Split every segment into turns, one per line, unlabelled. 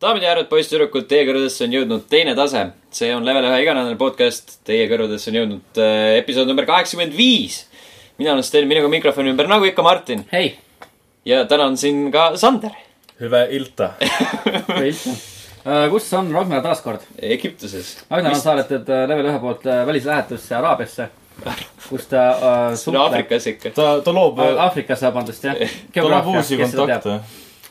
daamid ja härrad , poisssüdrukud , teie kõrvadesse on jõudnud teine tase . see on level ühe iganädalane podcast , teie kõrvadesse on jõudnud äh, episood number kaheksakümmend viis . mina olen Sten , minuga mikrofoni ümber , nagu ikka , Martin .
hei ,
ja täna on siin ka Sander
Hyvää iltaa.
Äh, kus on Ragnar taas kord ?
Egiptuses .
Ragnar on saadetud äh, level ühe poolt äh, välislähetusse Araabiasse , kus ta äh,
see on
suhtleb .
Aafrikas ikka .
Ta, ta loob, ta
Aafrikasse , vabandust jah .
Eh, loob uusi kontakte .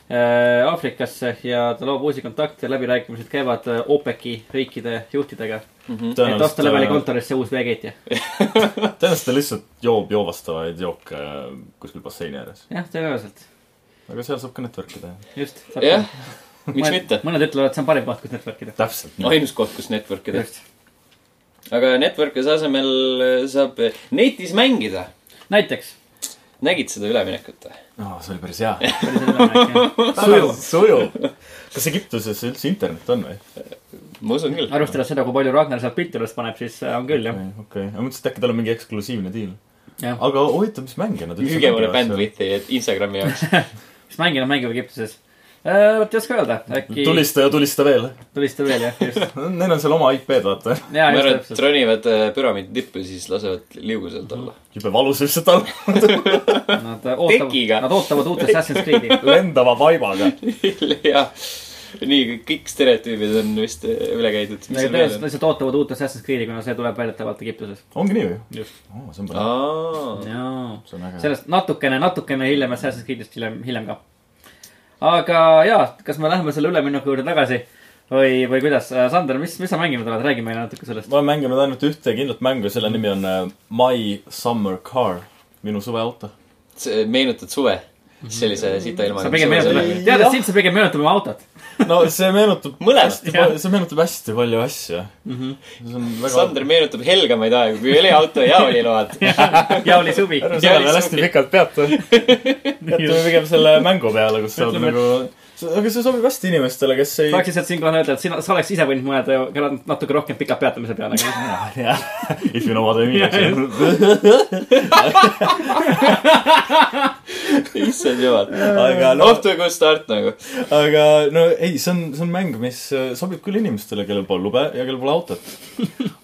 Äh, Aafrikasse ja ta loob uusi kontakte , läbirääkimised käivad äh, OPEC-i riikide juhtidega . Mhm. et osta leveli
tõenäoliselt äh,
kontorisse uus veekeitja .
tõenäoliselt ta lihtsalt joob joovastavaid jooke äh, kuskil basseini ääres .
jah , tõenäoliselt ,
aga seal saab ka network ida .
just .
jah , miks mitte .
mõned ütlevad , et see on parim koht , kus network ida .
täpselt nii .
ainus koht , kus network ida .
just ,
aga network'e asemel äh, saab netis mängida .
näiteks .
nägid seda üleminekut või ?
aa , see oli päris hea .
sujuv .
sujuv . kas Egiptuses üldse internet on või ?
ma usun küll .
arvestades seda , kui palju Ragnar sealt pilti üles paneb , siis äh, on küll jah .
okei , ma mõtlesin , et äkki tal on mingi eksklusiivne diil .
jah ,
aga huvitav , mis mänge nad
müüge mulle . bandwidth'i et Instagrami jaoks .
mis mängijad mängivad Egiptuses ? vot ei oska öelda , äkki
tulista ja tulista veel .
tulista veel jah , just .
Neil on seal oma IP-d , vaata .
jaa ,
ma
just
arvan , et
täpselt .
tronivad äh, püramiidi tippu ja siis lasevad liugu sealt alla .
jube valus lihtsalt on .
Nad ootavad
tekiga. ,
nad ootavad uut Assassin's Creed'i .
lendava vaibaga .
jah , nii kõik stereotüübid on vist äh, üle käidud .
Nad tõenäoliselt lihtsalt ootavad uut Assassin's Creed'i , kuna see tuleb väidetavalt Egiptuses .
ongi nii või ? oo , see on põnev .
aa ,
jaa .
see on äge .
sellest natukene , natukene hiljem Assassin's Creed'ist hiljem , hiljem ka . aga jaa , kas me läheme selle ülemineku juurde tagasi või , või kuidas ? Sander , mis , mis sa mänginud oled , räägi meile natuke sellest .
ma olen mänginud ainult ühte kindlat mängu ja selle nimi on äh, My Summer Car , er minu suveauto .
äh, meenutad suve sellise sita ilmaga .
sa pigem meenutad ,
Jah.
tead , et sind sa pigem meenutab oma autot .
no see meenutab
Mõlemat,
hästi
jah.
palju , see meenutab hästi palju asju mm . -hmm. see on väga
Sander meenutab helgemaid aegu , kui oli auto ja oli load .
ja oli suvi .
ärme selle
Jaa,
peale hästi
suvi.
pikalt peatu . jätame pigem selle mängu peale , kus saab
Ütleme,
nagu , aga see sobib hästi inimestele , kes ei
tahaks lihtsalt siinkohal öelda , et sina , sa oleks ise võinud mõelda ju ka nat- natuke rohkem pika peatamise peale .
Jah, er- if you know what I mean , eks ju .
issand jumal .
aga noh ,
off to a good start nagu .
aga no ei , see on , see on mäng , mis äh, sobib küll inimestele , kellel pole lube ja er kellel pole autot .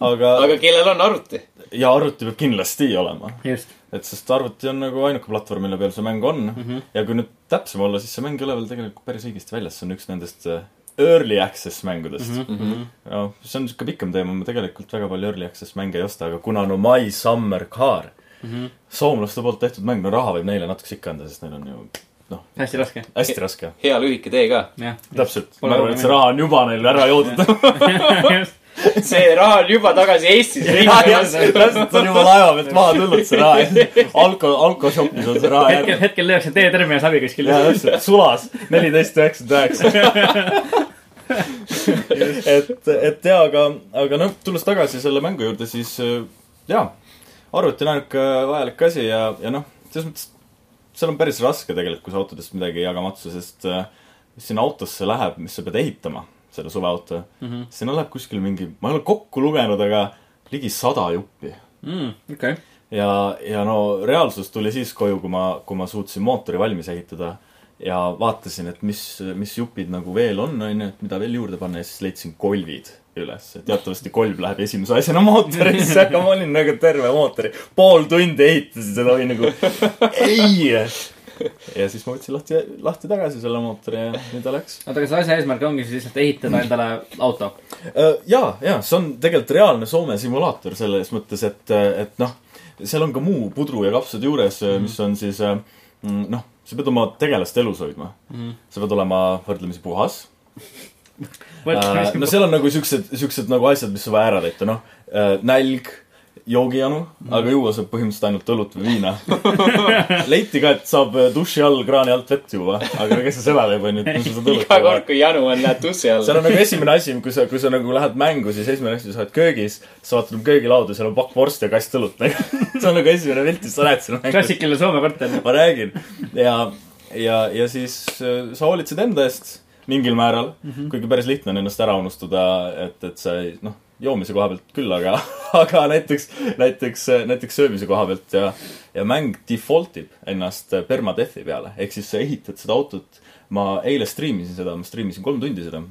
aga,
aga kellel on arvuti ?
ja er arvuti peab kindlasti olema
just .
et sest arvuti on nagu ainuke platvorm , mille peal see mäng on mm .
Mhm,
-hmm. ja kui nüüd täpsem olla , siis see mäng ei ole veel tegelikult päris õigesti väljas , see on üks nendest äh, early access mängudest mm .
Mhm.
-hmm. no see on siuke pikem teema , ma tegelikult väga palju early access mänge ei osta , aga kuna no My Summer Car mm ,
mhm.
-hmm. soomlaste poolt tehtud mäng , no raha võib neile natukese ikka anda , sest neil on ju noh ,
hästi raske .
hästi raske .
hea lühike tee ka .
jah .
täpselt ,
Pole
ma arvan , et
ruumi
see raha on juba neil ära joodud .
just .
see raha on juba tagasi Eestis .
täpselt , see on juba laeva pealt maha tulnud , see raha . alko , alkošokis on see raha
hetkel , hetkel lüüakse teetermini savi kuskil .
jaa , täpselt , sulas neliteist üheksakümmend üheksa . et , et jaa , aga , aga noh , tulles tagasi selle mängu juurde , siis äh, jaa , arvuti on ainuke vajalik asi ja , ja noh , selles mõttes seal on päris raske tegelikult , kui sa autodest midagi ei jaga matsu , sest äh, mis sinna autosse läheb , mis sa pead ehitama , selle suveauto mm , -hmm. sinna läheb kuskil mingi , ma ei ole kokku lugenud , aga ligi sada juppi
okei .
ja , ja no reaalsus tuli siis koju , kui ma , kui ma suutsin mootori valmis ehitada ja vaatasin , et mis , mis jupid nagu veel on , on ju , et mida veel juurde panna ja siis leidsin kolvid üles . teatavasti kolv läheb esimese asjana mootorisse , aga ma olin nagu terve mootori , pool tundi ehitasin seda , olin nagu ei . ja siis ma võtsin lahti , lahti tagasi selle mootori ja nii ta läks .
oota , kas asja eesmärk ongi siis lihtsalt ehitada endale auto ?
ja , ja Äh, see on tegelikult reaalne Soome simulaator selles mõttes , et , et noh , seal on ka muu pudru ja kapsad juures mm , -hmm.
Mhm.
mis on siis äh, mm, noh , sa pead oma tegelast elus hoidma mm .
Mhm.
-hmm. sa pead olema võrdlemisi puhas . no seal on nagu siuksed , siuksed nagu asjad , mis on vaja ära täita , noh äh, nälg , joogijanu mm ,
Mhm.
-hmm. aga juua saab põhimõtteliselt ainult õlut või viina . leiti ka , et saab äh, duši all kraani alt vett juua , aga kes see seda teeb , onju , et kui sa saad õlut
iga kord , kui janu on , lähed tussi
seal
alla .
on nagu esimene asi , kui sa , kui sa nagu lähed mängu , siis esimene asi , sa oled köögis , sa vaatad oma köögilauda , seal on pakk vorsti ja kast õlut . see on nagu esimene pilt , mis sa näed seal mängus .
klassikaline Soome korter .
ma räägin ja , ja , ja siis äh, sa hoolitsed enda eest mingil määral mm , -hmm. kuigi päris lihtne on ennast ära unustada , et , et sa ei , noh , joomise koha pealt küll , aga , aga näiteks , näiteks , näiteks söömise koha pealt ja , ja mäng default ib ennast permadeath'i peale . ehk siis sa ehitad seda autot . ma eile striimisin seda , ma striimisin kolm tundi seda .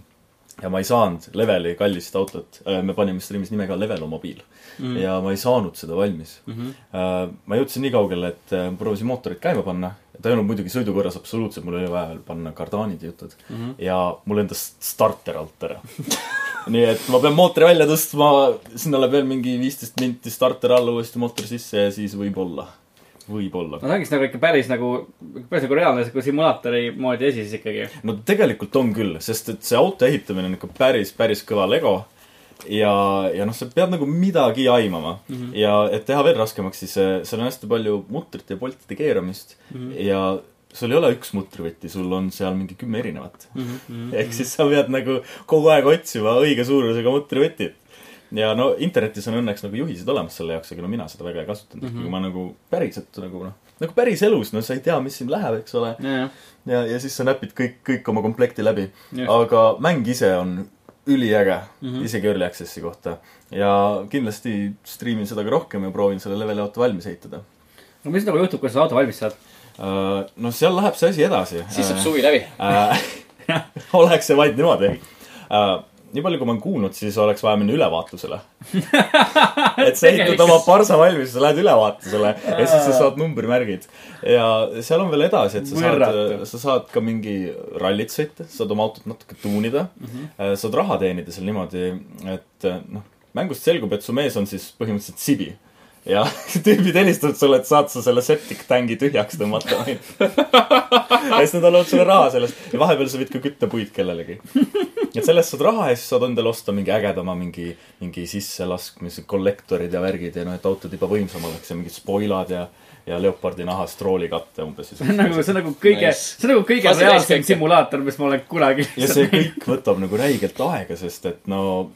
ja ma ei saanud leveli kallist autot . me panime striimis nimega Level mobiil mm. . ja ma ei saanud seda valmis
Mhm.
mm . -hmm. ma jõudsin nii kaugele , et äh, proovisin mootorit käima panna . ta ei olnud muidugi sõidu korras absoluutselt , mul oli vaja panna kardaanid ja jutud mm . -hmm. ja mul endas starter alt ära nii et ma pean mootori välja tõstma , sinna läheb veel mingi viisteist minti starter alla , uuesti mootor sisse ja siis võib-olla , võib-olla
no . see ongi siis nagu ikka päris nagu , päris nagu reaalne sihuke simulaatori moodi asi siis ikkagi .
no tegelikult on küll , sest et see auto ehitamine on ikka päris , päris kõva lego . ja , ja noh , sa pead nagu midagi aimama mm . -hmm. ja et teha veel raskemaks , siis äh, seal on hästi palju mutrite ja poltide keeramist mm . -hmm. ja sul ei ole üks mutrivõti , sul on seal mingi kümme erinevat mm .
Mhm,
-hmm. ehk siis sa pead nagu kogu aeg otsima õige suurusega mutrivõtit . ja no internetis on õnneks nagu juhised olemas selle jaoks , aga no mina seda väga ei kasutanud mm , -hmm. kui ma nagu päriselt nagu noh , nagu päris elus , no sa ei tea , mis siin läheb , eks ole
jajah .
ja , ja siis sa näpid kõik , kõik oma komplekti läbi .
Just.
aga mäng ise on üliäge mm ,
Mhm.
-hmm. isegi Early Access'i kohta . ja kindlasti striimin seda ka rohkem ja proovin selle leveli auto valmis ehitada .
no mis nagu juhtub , kui sa auto valmis saad ?
no seal läheb see asi edasi .
siis saab suvi läbi .
Äh, oleks see vaid niimoodi äh, . nii palju , kui ma olen kuulnud , siis oleks vaja minna ülevaatusele . et sa ehitad oma parsa valmis , sa lähed ülevaatusele ja siis sa saad numbrimärgid . ja seal on veel edasi , et sa saad äh,
Võrratu. ,
sa saad ka mingi rallit sõita , saad oma autot natuke tuunida mm . -hmm. saad raha teenida seal niimoodi , et äh, noh , mängust selgub , et su mees on siis põhimõtteliselt sibi ja tüübid helistavad sulle , et saad sa selle septic tangi tühjaks tõmmata . ja siis nad annavad sulle raha sellest ja vahepeal sa võid ka küttepuid kellelegi . et sellest saad raha ja siis saad endale osta mingi ägedama mingi , mingi sisselaskmise kollektorid ja värgid ja noh , et autod juba võimsam oleks ja mingid spoilad ja , ja leopardi nahast roolikatte umbes .
see on nagu , see on nagu kõige ,
Nice.
see on nagu kõige
Fuzzy
reaalsem
täiskõike.
simulaator , mis ma olen kunagi
ja see kõik võtab nagu räigelt aega , sest et no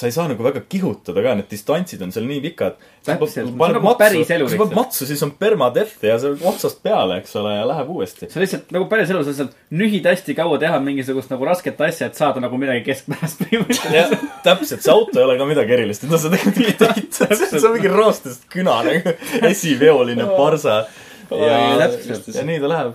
sa ei saa nagu väga kihutada ka , need distantsid on seal nii pikad .
Täpselt. See on nagu päris elu
sa paned
lihtsalt.
matsu , siis on permadeath ja see on otsast peale , eks ole , ja läheb uuesti .
see on lihtsalt nagu päris elus , lihtsalt nühid hästi kaua teha mingisugust nagu rasket asja , et saada nagu midagi keskpärast põhimõtteliselt .
jah , täpselt , see auto ei ole ka midagi erilist , et noh , sa tegelikult ei täita , see on mingi roostest küna nagu , esiveoline parsa . ja
Oi, , täpselt.
ja nii ta läheb .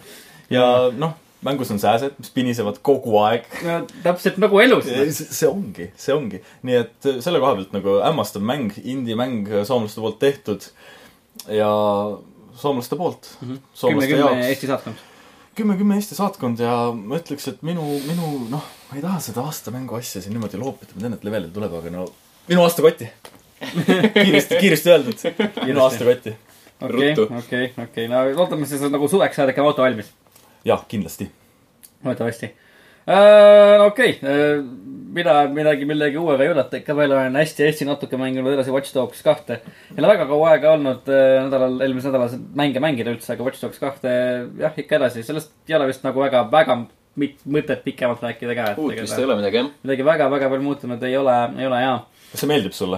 ja noh , mängus on sääsed , mis pinisevad kogu aeg .
no täpselt nagu elus .
see see ongi , see ongi , nii et selle koha pealt nagu hämmastav mäng , indie-mäng soomlaste poolt tehtud ja soomlaste poolt mm . -hmm.
Mhm. kümme ,
soomlaste
kümme
jaoks
Eesti saatkond .
kümme , kümme Eesti saatkond ja ma ütleks , et minu , minu noh , ma ei taha seda aastamängu asja siin niimoodi loopida , ma tean , et levelil tuleb , aga no minu aastakotti . kiiresti , kiiresti öeldud , minu aastakotti .
okei ,
Ruttu.
okei , okei , no loodame , siis on nagu suveks saad ikka auto valmis .
jah , kindlasti .
loodetavasti . okei , mina midagi millegi uuega ei üllata , ikka veel olen hästi-hästi natuke mänginud edasi Watch Dogs kahte . ei ole väga kaua aega olnud äh, nädalal , eelmisel nädalal mänge mängida üldse , aga Watch Dogs kahte jah , ikka edasi , sellest ei ole vist nagu väga , väga mit- mõtet pikemalt rääkida ka .
uut vist ei ole midagi , jah .
midagi väga-väga palju muutunud ei ole , ei ole jaa .
kas see meeldib sulle ?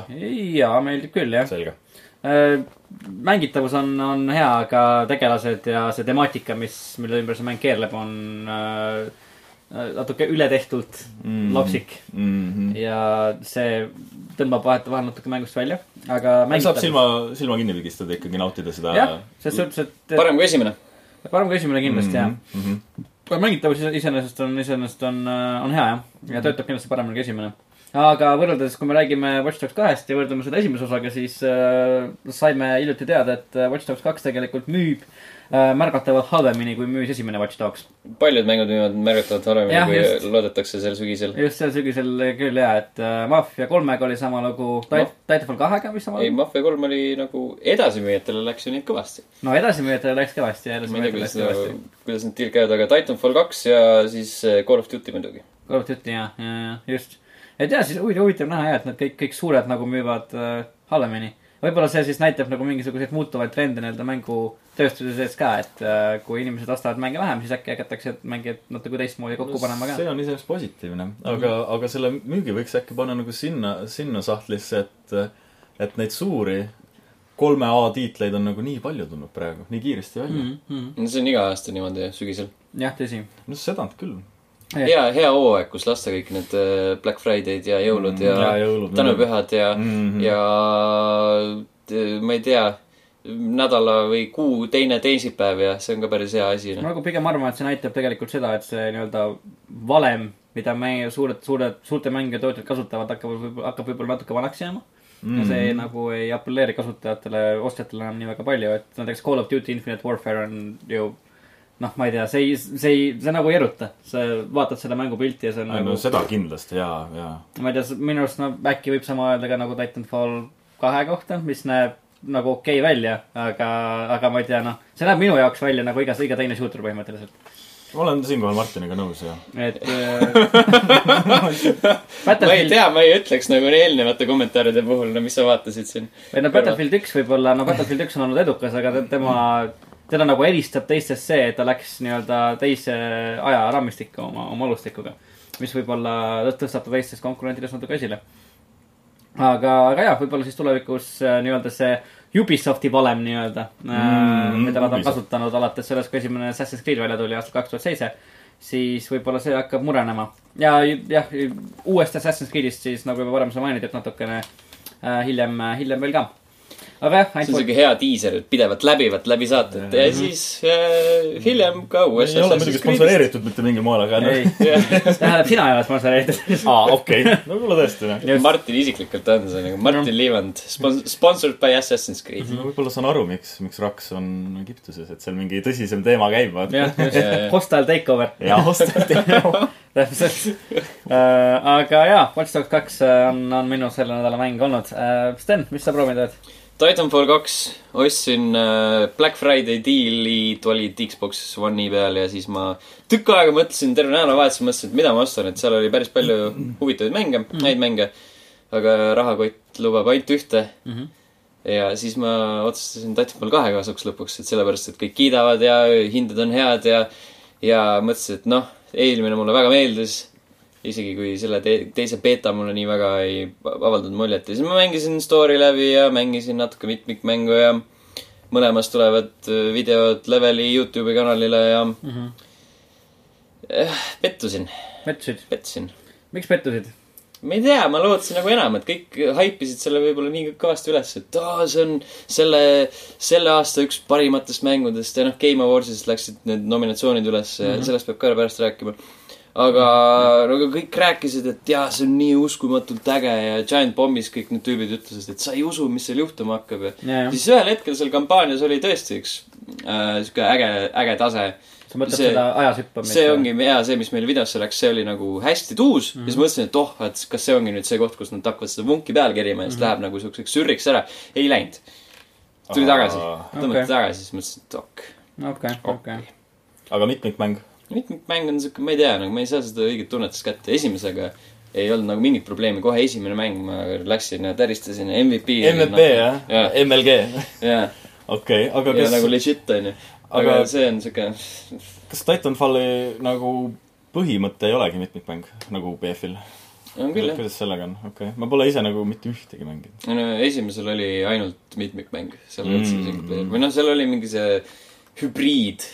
jaa , meeldib küll jah .
selge .
mängitavus on , on hea , aga tegelased ja see temaatika , mis , mille ümber see mäng keerleb , on äh, natuke ületehtult mm. lapsik .
Mhm.
ja see tõmbab vahetevahel natuke mängust välja , aga
saab
mängitav .
silma , silma kinni pigistada ikkagi , nautida seda .
jah , selles suhtes , et
parem kui esimene .
parem kui esimene kindlasti mm -hmm.
mm . -hmm.
jah . mängitavus ise- iseenesest on , iseenesest on , on hea jah ,
Mhm.
ja töötab kindlasti paremini kui esimene . aga võrreldes , kui me räägime Watch Dogs kahest ja võrdleme seda esimese osaga , siis äh, saime hiljuti teada , et äh, Watch Dogs kaks tegelikult müüb äh, märgatavalt halvemini , kui müüs esimene Watch Dogs .
paljud mängud võivad märgatavalt harvemini ,
Jah, just.
kui loodetakse sel sügisel .
just sel sügisel küll jaa , et äh, Mafia kolmega oli sama lugu ,
Noh.
Titanfall kahega vist sama
ei ,
lugu .
Mafia kolm oli nagu edasimüüjatele läks ju neid kõvasti .
no edasimüüjatele läks kõvasti ja
ma ei tea ,
edasimüüjatele
kuidas
läks kõvasti
seda ., kuidas need deal käivad , aga Titanfall kaks ja siis äh, Call of Duty muidugi .
Call of Duty ja , ja , ja just . et ja siis huvitav , huvitav näha ja , et nad kõik , kõik suured nagu müüvad äh, halvemini . võib-olla see siis näitab nagu mingisuguseid muutuvaid trende nii-öelda mängutööstuse sees ka , et äh, kui inimesed ostavad mänge vähem , siis äkki hakatakse mängijad natuke teistmoodi kokku panema ka . Mhm.
see on iseenesest positiivne , aga , aga selle müügi võiks äkki panna nagu sinna , sinna sahtlisse , et , et neid suuri kolme A tiitleid on nagu nii palju tulnud praegu , nii kiiresti välja mm. .
Mm -hmm.
no see on iga aasta niimoodi sügisel .
jah , tõsi .
no seda küll .
hea , hea hooaeg , kus lasta kõik need äh, Black Friday'd ja jõulud Mm, ja,
ja jõulud,
tänupühad ja mm ,
Mhm.
-hmm. ja äh, ma ei tea , nädala või kuu teine teisipäev ja see on ka päris hea asi ,
ma
noh .
nagu pigem arvan , et see näitab tegelikult seda , et see nii-öelda valem , mida meie suured , suured , suurte mängija tootjad kasutavad , hakkab võib-olla , hakkab võib-olla natuke vanaks jääma mm. . ja see nagu ei apelleeri kasutajatele , ostjatele enam nii väga palju , et näiteks Call of Duty Infinite Warfare on ju noh , ma ei tea , see ei , see ei , see nagu ei eruta . sa vaatad seda mängupilti ja see on
ei
nagu
no , seda kindlasti ja , ja .
ma ei tea , minu arust noh , äkki võib sama öelda ka nagu Titanfall kahe kohta , mis näeb nagu okei okay välja , aga , aga ma ei tea , noh , see näeb minu jaoks välja nagu iga , iga teine shooter põhimõtteliselt .
olen siinkohal Martiniga nõus ja .
et äh,
ma ei
Battlefield ,
tea , ma ei ütleks nagu eelnevate kommentaaride puhul , no mis sa vaatasid siin .
või noh , Battlefield üks võib-olla , no Battlefield üks on olnud edukas , aga te- tema , teda nagu eristab teistest see , et ta läks nii-öelda teise ajaraamistikku oma , oma alustikuga . mis võib-olla tõ- tõstab ta teistes konkurentides natuke esile . aga , aga jah , võib-olla siis tulevikus äh, nii-öelda see Ubisofti valem nii-öelda mm, ,
Mm,
mida nad on
Ubisoft.
kasutanud alates sellest , kui esimene Assassin's Creed välja tuli aastal kaks tuhat seitse , siis võib-olla see hakkab murenema . ja jah , uuest Assassin's Creedist siis nagu juba varem sai mainitud , natukene äh, hiljem , hiljem veel ka . aga jah ,
see on
ainult
siuke hea diiser , et pidevalt läbivad läbi saated ja siis äh, hiljem ka
Mhm. ei
uues
ole muidugi . sponsoreeritud mitte mingil moel , aga
ei
noh ,,
tähendab , sina ei ole sponsoreeritud .
aa , okei , no võib-olla tõesti jah .
Just.
Martin isiklikult on see nagu Martin Liivand , sponsored by Assassin's Creed .
no võib-olla saan aru , miks , miks Raks on Egiptuses , et seal mingi tõsisem teema käib , vaata .
jah , just
Ja, ja. ,
hostile takeover .
ja osteti .
täpselt uh, . aga jaa , Watch Dogs kaks äh, on , on minu selle nädala mäng olnud uh, . Sten , mis sa proovinud oled ?
Titanfall kaks ostsin äh, Black Friday deal'id olid Xbox One'i peal ja siis ma tükk aega mõtlesin , terve nädalavahetus mõtlesin , et mida ma ostan , et seal oli päris palju huvitavaid mänge , häid mänge . aga rahakott lubab ainult ühte mm . -hmm. ja siis ma otsustasin Titanfall kahe kasuks lõpuks , et sellepärast , et kõik kiidavad ja hinded on head ja , ja mõtlesin , et noh , eelmine mulle väga meeldis isegi kui selle te teise beeta mulle nii väga ei avaldanud muljet ja siis ma mängisin story läbi ja mängisin natuke mitmikmängu ja mõlemas tulevad äh, videod leveli Youtube'i kanalile ja mm -hmm. pettusin ,
pettusid ?
pettusin .
miks pettusid ?
ma ei tea , ma lootsin nagu enamat , kõik haipisid selle võib-olla nii kõvasti üles , et aa , see on selle , selle aasta üks parimatest mängudest ja noh , Game Awards'is läksid need nominatsioonid üles ja mm -hmm. sellest peab ka pärast rääkima . aga no aga nagu kõik rääkisid , et jaa , see on nii uskumatult äge ja Giant Bombis kõik need tüübid ütlesid , et sa ei usu , mis seal juhtuma hakkab ja
Jajah.
siis ühel hetkel seal kampaanias oli tõesti üks äh, sihuke äge , äge tase
sa mõtled
See-
seda ajas hüppamist ?
see ongi hea , see , mis meil videosse läks , see oli nagu hästi tuus mm -hmm. ja siis mõtlesin , et oh , et kas see ongi nüüd see koht , kus nad hakkavad seda vunki peale kerima ja siis mm -hmm. läheb nagu siukseks sürriks ära . ei läinud . tuli
Aa.
tagasi , tõmmati
Okei.
okay. tagasi , siis mõtlesin , et ok .
okei , okei .
aga mitmikmäng ?
mitmikmäng on siuke , ma ei tea , nagu ma ei saa seda õiget tunnetust kätte , esimesega ei olnud nagu mingit probleemi , kohe esimene mäng ma läksin ja täristasin MVP .
MVP jah
jah ?,
MLG .
ja ,
okei , aga
ja nagu
kas ,
legit onju . aga
Aga-
see on siuke ,
kas Titanfalli nagu põhimõte ei olegi mitmikmäng nagu BF-il ?
on küll jah .
kuidas sellega on , okei okay. . ma pole ise nagu mitte ühtegi mänginud .
no esimesel oli ainult mitmikmäng , seal ei olnud seda
Mm.
singleplayer või noh , seal oli mingi see hübriid .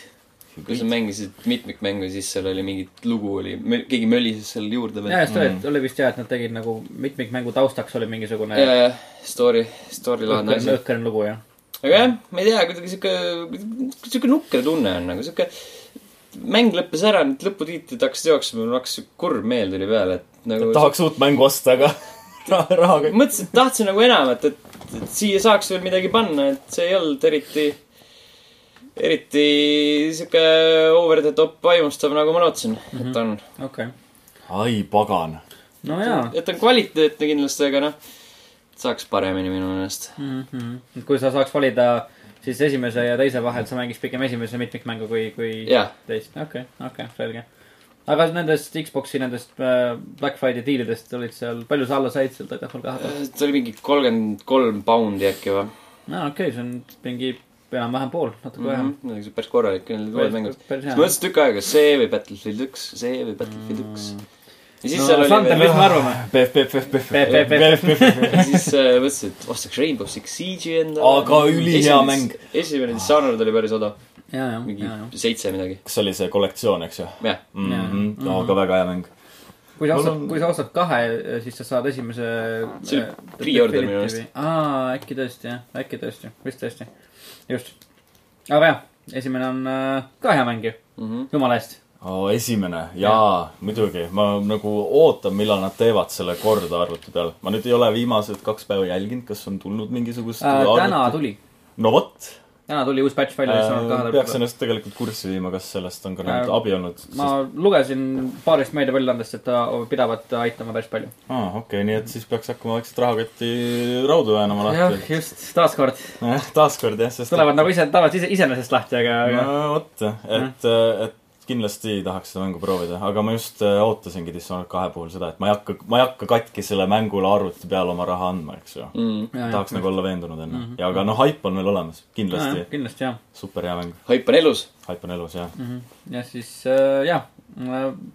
kui sa mängisid mitmikmängu , siis seal oli mingit lugu oli , keegi mölises seal juurde
jaa ,
veel .
just oli , oli vist jaa , et nad tegid nagu mitmikmängu taustaks oli mingisugune
ja , ja story , story laadne
õhkõrn
asi .
õhkõrn lugu jah .
aga jah , ma ei tea , kuidagi sihuke , sihuke nukker tunne on nagu sihuke . mäng lõppes ära , need lõputiitrid hakkasid jooksma , mul hakkas sihuke kurb meel tuli peale , et nagu .
tahaks uut mängu osta , aga raha , rahaga ei
mõtlesin , et tahtsin nagu enamat , et , et siia saaks veel midagi panna , et see ei olnud eriti , eriti sihuke over the top vaimustav , nagu ma lootsin mm , -hmm. et on .
okei .
ai pagan .
no jaa .
et on kvaliteetne kindlasti , aga noh , saaks paremini minu meelest .
Mhm. kui sa saaks valida siis esimese ja teise vahel , sa mängiks pigem esimese mitmikmängu kui , kui
jah ,
teist , okei , okei , selge . aga nendest Xbox'i nendest äh, Black Friday diilidest olid seal , palju sa alla said seal Titanfall kahe peal ?
see oli mingi kolmkümmend kolm poundi äkki või ?
aa , okei , see on mingi enam-vähem pool , natuke vähem .
midagi siukest päris korralikku , need uued mängud . Mhm.
päris
siis
hea .
mõtlesin tükk aega , see või Battlefield üks , see või Battlefield üks . ja siis no,
No,
seal
Sander,
oli
mis me arvame ?
BF , BF , BF ,
Peep , peep , peep .
BF , BF .
veel , siis äh, mõtlesin , et ostaks Rainbow Six Siege'i endale .
Aga ülihea mäng. .
esimene Dishonored oli päris odav .
ja , ja ,
mingi
ja , ja .
seitse midagi .
kas see oli see kollektsioon , eks ju ?
jah ,
mm .
Mhm.
-hmm. aga väga hea mäng .
kui sa
Mul
ostad
on- ,
kui sa ostad kahe , siis sa saad esimese .
See oli pre-order minu meelest. .
aa , äkki tõesti jah , äkki tõesti , vist tõesti . just . aga jah , esimene on äh, ka hea mäng ju mm
Mhm. .
jumala eest .
Oh, esimene , jaa , muidugi , ma nagu ootan , millal nad teevad selle korda arvuti peal . ma nüüd ei ole viimased kaks päeva jälginud , kas on tulnud mingisugust
Äh, täna
arvuti-
tuli ,
no vot
täna tuli uus patch välja , mis on
äh,
kahe .
peaks ennast tegelikult kurssi viima , kas sellest on ka nüüd
Äh,
abi olnud .
ma lugesin paarist meediaväljaandest , et ta pidavat aitama päris palju .
aa , okei , nii et siis peaks hakkama vaikselt rahakotti raudu väänama
jah ,
lahti .
just , taaskord
taaskord jah , sest
tulevad nagu ise , tulevad ise , iseenesest lahti , aga , aga
no vot , et , et kindlasti tahaks seda mängu proovida , aga ma just äh, ootasingi Dishonored kahe puhul seda , et ma ei hakka , ma ei hakka katki selle mängule arvuti peal oma raha andma , eks ju
Mhm.
mm. .
Jaa, jah.
tahaks nagu olla veendunud enne
Mhm.
mm . -hmm. ja aga noh , haip on meil olemas , kindlasti
Jaa, . kindlasti jah .
super hea mäng ,
haip on elus .
haip on elus , jah mm .
Mhm. ja siis äh, jah ,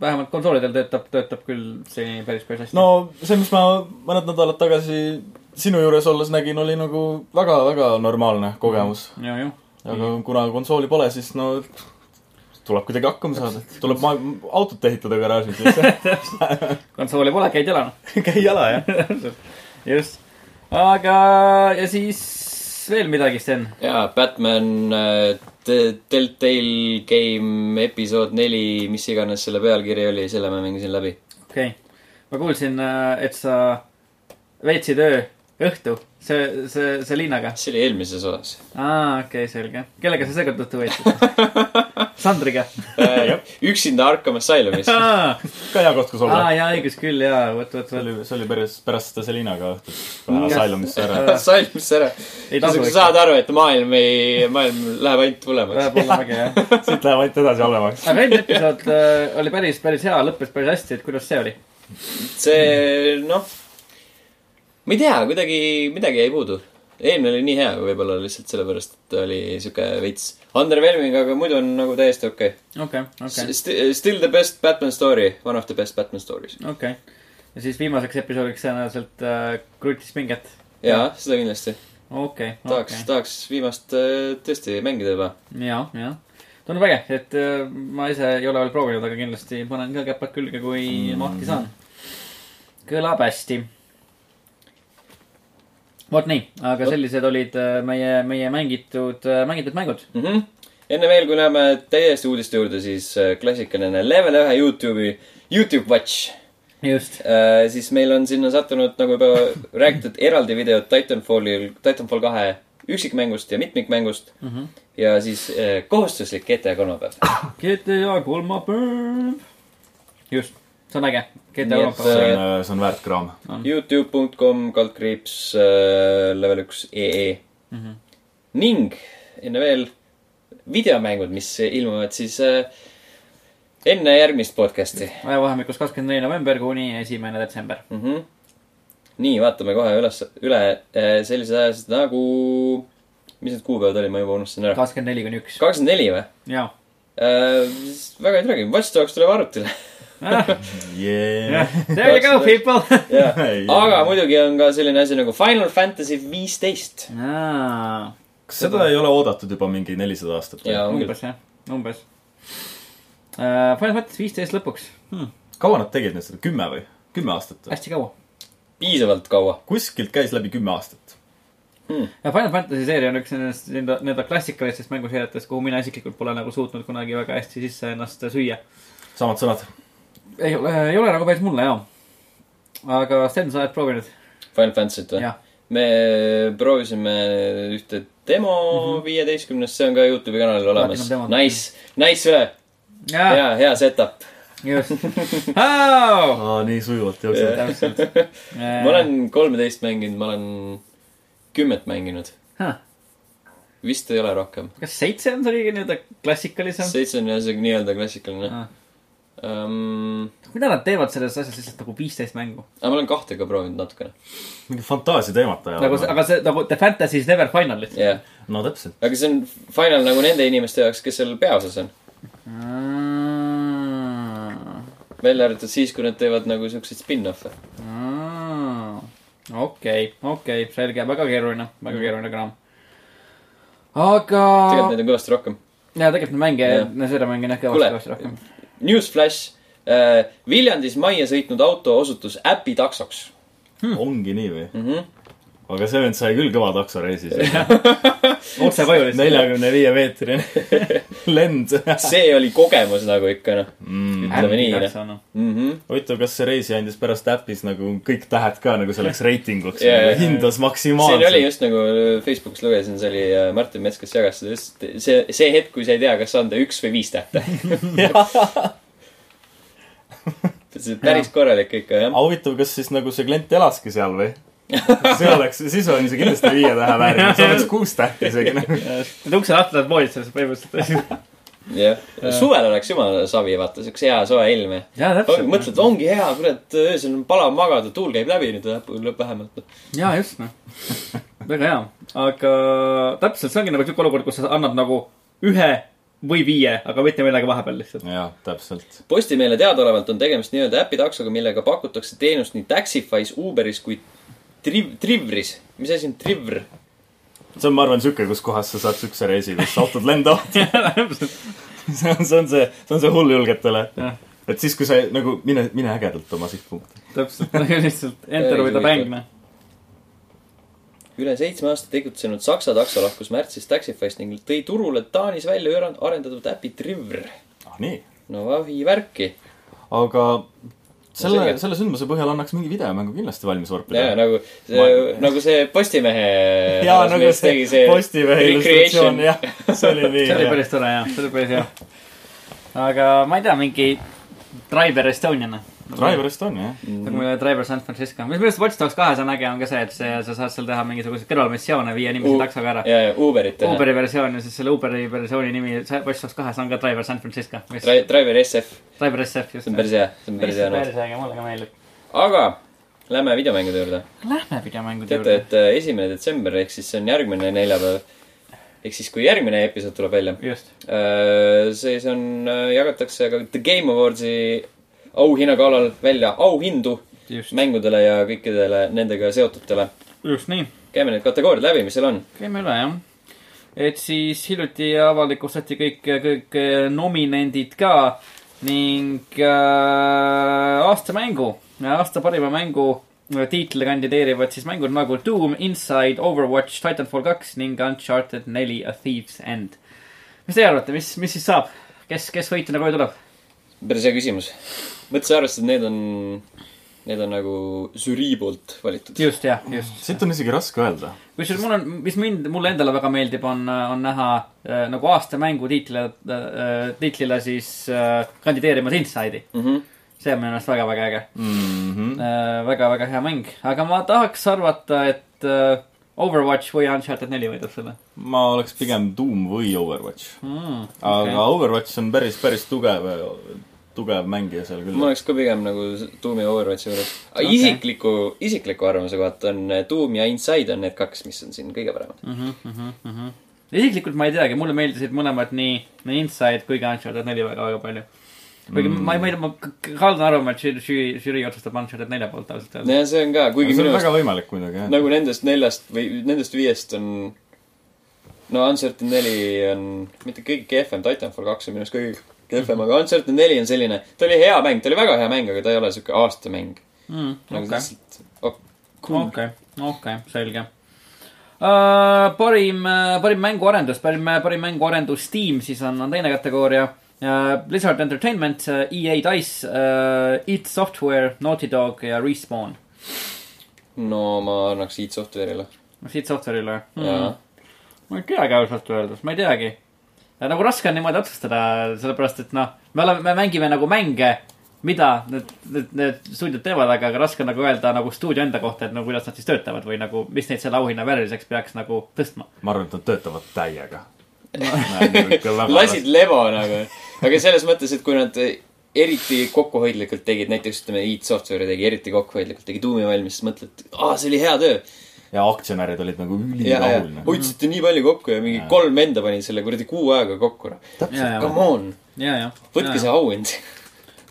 vähemalt konsoolidel töötab , töötab küll see päris , päris hästi .
no see , mis ma mõned nädalad tagasi sinu juures olles nägin , oli nagu väga-väga normaalne kogemus .
ja , jah .
aga kuna konsooli pole , siis no tuleb kuidagi hakkama saada , tuleb ma- , autot ehitada garaažis lihtsalt .
konsooli pole , käid jalana .
käi jala , jah .
just . aga , ja siis veel midagi , Sten .
jaa , Batman äh, T- Telltale Game episood neli , mis iganes selle pealkiri oli , selle ma mängisin läbi .
okei okay. . ma kuulsin , et sa veetsid öö , õhtu , see , see , see Liinaga .
see oli eelmises osas .
aa , okei okay, , selge . kellega sa seekord õhtu veetsid ? Sandriga . Äh,
üksinda Arkham Asylumis .
aa ,
ka hea koht , kus olla .
jaa , õigus küll , jaa , võt , vot ,
see
vot .
oli , see oli päris , pärast seda Selinaga õhtut ,
Mm.
kui Asylumisse ära .
Asylumisse ära .
Ei tasu,
sa
eks.
saad aru , et maailm ei , maailm läheb ainult hullemaks .
läheb allamäge , jah .
siit läheb ainult edasi halvemaks .
aga eelmine episood äh, oli päris , päris hea , lõppes päris hästi , et kuidas see oli ?
see , noh , ma ei tea , kuidagi midagi jäi puudu . eelmine oli nii hea , võib-olla lihtsalt sellepärast , et ta oli sihuke veits underwhelming , aga muidu on nagu täiesti okei
okei ,
okay. .
okei ,
Still the best Batman story , one of the best Batman stories .
okei . ja siis viimaseks episoodiks tõenäoliselt äh, krutis pinget .
jaa , seda kindlasti .
okei ,
tahaks
okei
okay. ,. tahaks viimast äh, tõesti mängida juba .
ja , ja . tundub äge , et äh, ma ise ei ole veel proovinud , aga kindlasti panen ka käpad külge , kui mm. mahti saan . kõlab hästi . vot nii , aga sellised olid äh, meie , meie mängitud , mängitud mängud .
mm . -hmm. enne veel , kui läheme täiesti uudiste juurde , siis äh, klassikaline level ühe Youtube'i , Youtube Watch
just .
Äh, siis meil on sinna sattunud , nagu juba räägitud , eraldi videod Titanfallil , Titanfall kahe üksikmängust ja mitmikmängust mm . -hmm. ja siis äh, kohustuslik GTA kolmapäev .
GTA kolmapäev . just , see on äge . GTA
Nii et,
kolmapäev .
see on , see on väärt kraam .
Youtube.com kaldkriips äh, level üks ee mm . -hmm. ning enne veel videomängud , mis ilmuvad siis äh, enne järgmist podcast'i
ajavahemikus kakskümmend neli november kuni esimene detsember .
mm . -hmm. nii , vaatame kohe üles , üle äh, sellised ajad nagu , mis need kuupäevad olid , ma juba unustasin ära .
kakskümmend neli kuni üks .
kakskümmend neli või ?
jaa .
Äh, väga ei tulegi , Watch Dogs tuleb arvutile .
Yeah.
There you go , people .
aga muidugi on ka selline asi nagu Final Fantasy viisteist .
kas seda ei ole oodatud juba mingi nelisada aastat või
Jaa. ? on
umbes jah , umbes . Final Fantasy viisteist lõpuks hmm. ,
kaua nad tegid nüüd seda , kümme või ? kümme aastat või ?
hästi kaua .
piisavalt kaua .
kuskilt käis läbi kümme aastat .
ja Final Fantasy seeria on üks nendest nii-öelda , nii-öelda klassikalistest mänguseeriatest , kuhu mina isiklikult pole nagu suutnud kunagi väga hästi sisse ennast süüa .
samad sõnad .
ei ole , ei ole nagu päris mulle jaa . aga Sten , sa oled proovinud ?
Final Fantasy't või
jah ?,
me proovisime ühte demo viieteistkümnest , see on ka Youtube'i kanalil olemas
Mhm. Platinum Ah. demod. .
Nice , nice üle .
jaa ,
hea , hea setup .
just . ma
aa , nii sujuvalt jookseb .
Oh! täpselt . Äh,
ma olen kolmeteist mänginud , ma olen kümmet mänginud . vist ei ole rohkem .
kas seitse on see kõige nii-öelda klassikalisem ?
seitse on jah , see nii-öelda klassikaline .
Ah.
aga
mida nad teevad selles asjas lihtsalt nagu viisteist mängu ?
ma olen kahte ka proovinud natukene .
mingi fantaasia teemat
nagu see ,
ajavad .
aga see nagu The Fantasy is never final lihtsalt .
jah
no täpselt .
aga see on final nagu nende inimeste jaoks , kes seal peaosas on .
Ah.
välja arvatud siis , kui nad teevad nagu siukseid spin-off'e .
Ah. okei , okei , selge , väga keeruline , väga keeruline kraam . aga
tegelikult neid on kõvasti rohkem .
ja tegelikult neid mänge
Jah. ,
seda mänge on jah
Kuule.
kõvasti , kõvasti rohkem .
Newsflash . Viljandis majja sõitnud auto osutus äpi taksoks
ongi nii või ?
mm . -hmm.
aga see vend sai küll kõva taksoreisi .
otse koju lihtsalt .
neljakümne viie meetrine lend .
see oli kogemus nagu ikka noh ütleme nii, jah. mm -hmm. .
huvitav , kas see reisi andis pärast äpis nagu kõik tähed ka nagu selleks reitinguks
Jaa, jaa, jaa.
yeah, , hindas
siin oli
maksimaalselt .
just nagu Facebookis lugesin , see oli äh, Martin Mets , kes jagas seda just , see , see hetk , kui sa ei tea , kas anda üks või viis tähte . see on päris korralik ikka jah
aga . huvitav , kas siis nagu see klient elaski seal või ? see oleks , siis on see kindlasti viie tähe vääriline , see oleks kuus tähte isegi . nagu.
Need ukse lahti lähevad voodid selles põhimõtteliselt .
jah , suvel oleks jumala savi , vaata , siukse hea soe ilm ja
jaa , täpselt .
mõtled , ongi hea , kurat , öösel on palav magada , tuul käib läbi nüüd lõpp vähemalt .
jaa , just noh . väga hea , aga täpselt , see ongi nagu siuke olukord , kus sa annad nagu ühe või viie , aga mitte midagi vahepeal lihtsalt .
jah , täpselt .
Postimeele teadaolevalt on tegemist nii-öelda äpitaksoga , millega pakutakse teenust nii Taxify's , Uberis kui Triv- , Trivris . mis asi on Trivr ?
see on , ma arvan , sihuke , kus kohas sa saad siukse reisi , kus autod lendavad . see on , see on see , see on see hulljulgetele .
Jah.
et siis , kui sa nagu mine , mine ägedalt oma sihtpunkti .
täpselt , nagu lihtsalt enter with a bang noh .
üle seitsme aasta tegutsenud Saksa takso lahkus märtsis Taxify'st ning tõi turule Taanis välja üra- arendatud äpi Trivr .
ah nii .
no vahi värki .
aga selle
selge. ,
selle sündmuse põhjal annaks mingi videomängu kindlasti valmis
jaa ,
vorpida .
nagu see ,
Ma-
nagu see Postimehe .
jaa , nagu see Postimehe illustratsioon , jah . see oli nii
see oli
hea .
päris tore jah , see oli päris hea . aga ma ei tea , mingi Driver Estonia noh .
Driver Estonia , jah .
Mhm.
nagu meil oli Driver San Francisco , mis minu arust Watch Dogs kahes on äge , on ka see , et see , sa saad seal teha mingisuguseid kõrvalmissioone viie inimese taksoga ära .
jaa , Uberit .
Uberi versioon ja siis selle Uberi versiooni nimi sa- Watch Dogs kahes on ka Driver San Francisco , mis
Driver SF ,
Driver SF just .
see on päris hea , see on päris hea noot .
päris äge , mulle ka meeldib .
aga lähme videomängude juurde .
Lähme videomängude
teate ,
juurde .
et äh, esimene detsember ehk siis see on järgmine neljapäev . ehk siis , kui järgmine episood tuleb välja ,
just ,
siis on , jagatakse ka The Game Awardsi auhinnagalal välja auhindu
just ,
mängudele ja kõikidele nendega seotutele .
just nii ,
käime need kategooriad läbi , mis seal on .
käime üle jah et siis hiljuti avalikustati kõik , kõik eh, nominendid ka ning äh, aastamängu , aasta parima mängu äh, tiitli kandideerivad siis mängud nagu Doom , Inside , Overwatch , Titanfall kaks ning Uncharted neli , A Thief's End . mis teie arvate , mis , mis siis saab , kes , kes võitjana koju tuleb ?
päris hea küsimus . mõttes arvestades , et need on , need on nagu žürii poolt valitud .
just jah , just .
siit on isegi raske öelda .
kusjuures mul on , mis mind , mulle endale väga meeldib , on , on näha äh, nagu aasta mängu tiitlile äh, , tiitlile siis äh, kandideerimas Inside'i .
Mm -hmm.
see on minu arust väga-väga äge
Mhm.
äh, . väga-väga hea mäng , aga ma tahaks arvata , et äh, Overwatch või Uncharted neli võidab selle
ma oleks pigem Doom või Overwatch .
mm, .
aga okay. Overwatch on päris , päris tugev , tugev mängija seal küll .
ma oleks ka pigem nagu Doom ja Overwatchi juures . aga
Okei.
okay. isikliku , isikliku arvamuse kohalt on Doom ja Inside on need kaks , mis on siin kõige paremad .
aga . isiklikult ma ei teagi , mulle meeldisid mõlemad nii , nii Inside kui ka Uncharted neli väga-väga palju . kuigi mm. ma ei , ma ei , ma k- k- kaldun arvama , et žürii- žürii , žürii otsustab Uncharted nelja poolt ausalt öeldes .
ja see on ka , kuigi
see on
minu
väga
arust
võimalik muidugi , jah .
nagu nendest neljast või nendest viiest on no Uncharted neli on mitte kõige kehvem , Titanfall kaks on minu arust kõige kehvem , aga Uncharted neli on selline , ta oli hea mäng , ta oli väga hea mäng , aga ta ei ole siuke aastamäng . nagu okay.
okei ,
lihtsalt oh, cool.
okei , okei , selge . Uh, parim , parim mänguarendus , parim , parim mänguarendus tiim siis on , on teine kategooria uh, . Blizzard Entertainment uh, , EA Dice uh, , It Software , Naughty Dog ja Respawn .
no ma annaks Eat Software'ile
no siit Software'ile
Jaa.
mm. . ma ei teagi ausalt öeldes , ma ei teagi . nagu raske on niimoodi otsustada , sellepärast et noh , me oleme , me mängime nagu mänge , mida need , need , need stuudiod teevad , aga , aga raske on nagu öelda nagu stuudio enda kohta , et no kuidas nad siis töötavad või nagu , mis neid selle auhinna vääriliseks peaks nagu tõstma .
ma arvan , et nad töötavad täiega .
lasid lebo nagu , aga selles mõttes , et kui nad eriti kokkuhoidlikult tegid , näiteks ütleme , Eat Software'i tegi eriti kokkuhoidlikult , tegi tuumi valmis , siis mõtled , aa , see oli hea töö .
ja aktsionärid olid nagu
ja , ja
ülirahul nagu. .
hoidsite nii palju kokku ja mingi
Jaa.
kolm venda panid selle kuradi kuu ajaga kokku , noh .
täpselt .
Come on ,
ja , ja .
võtke see . auhind .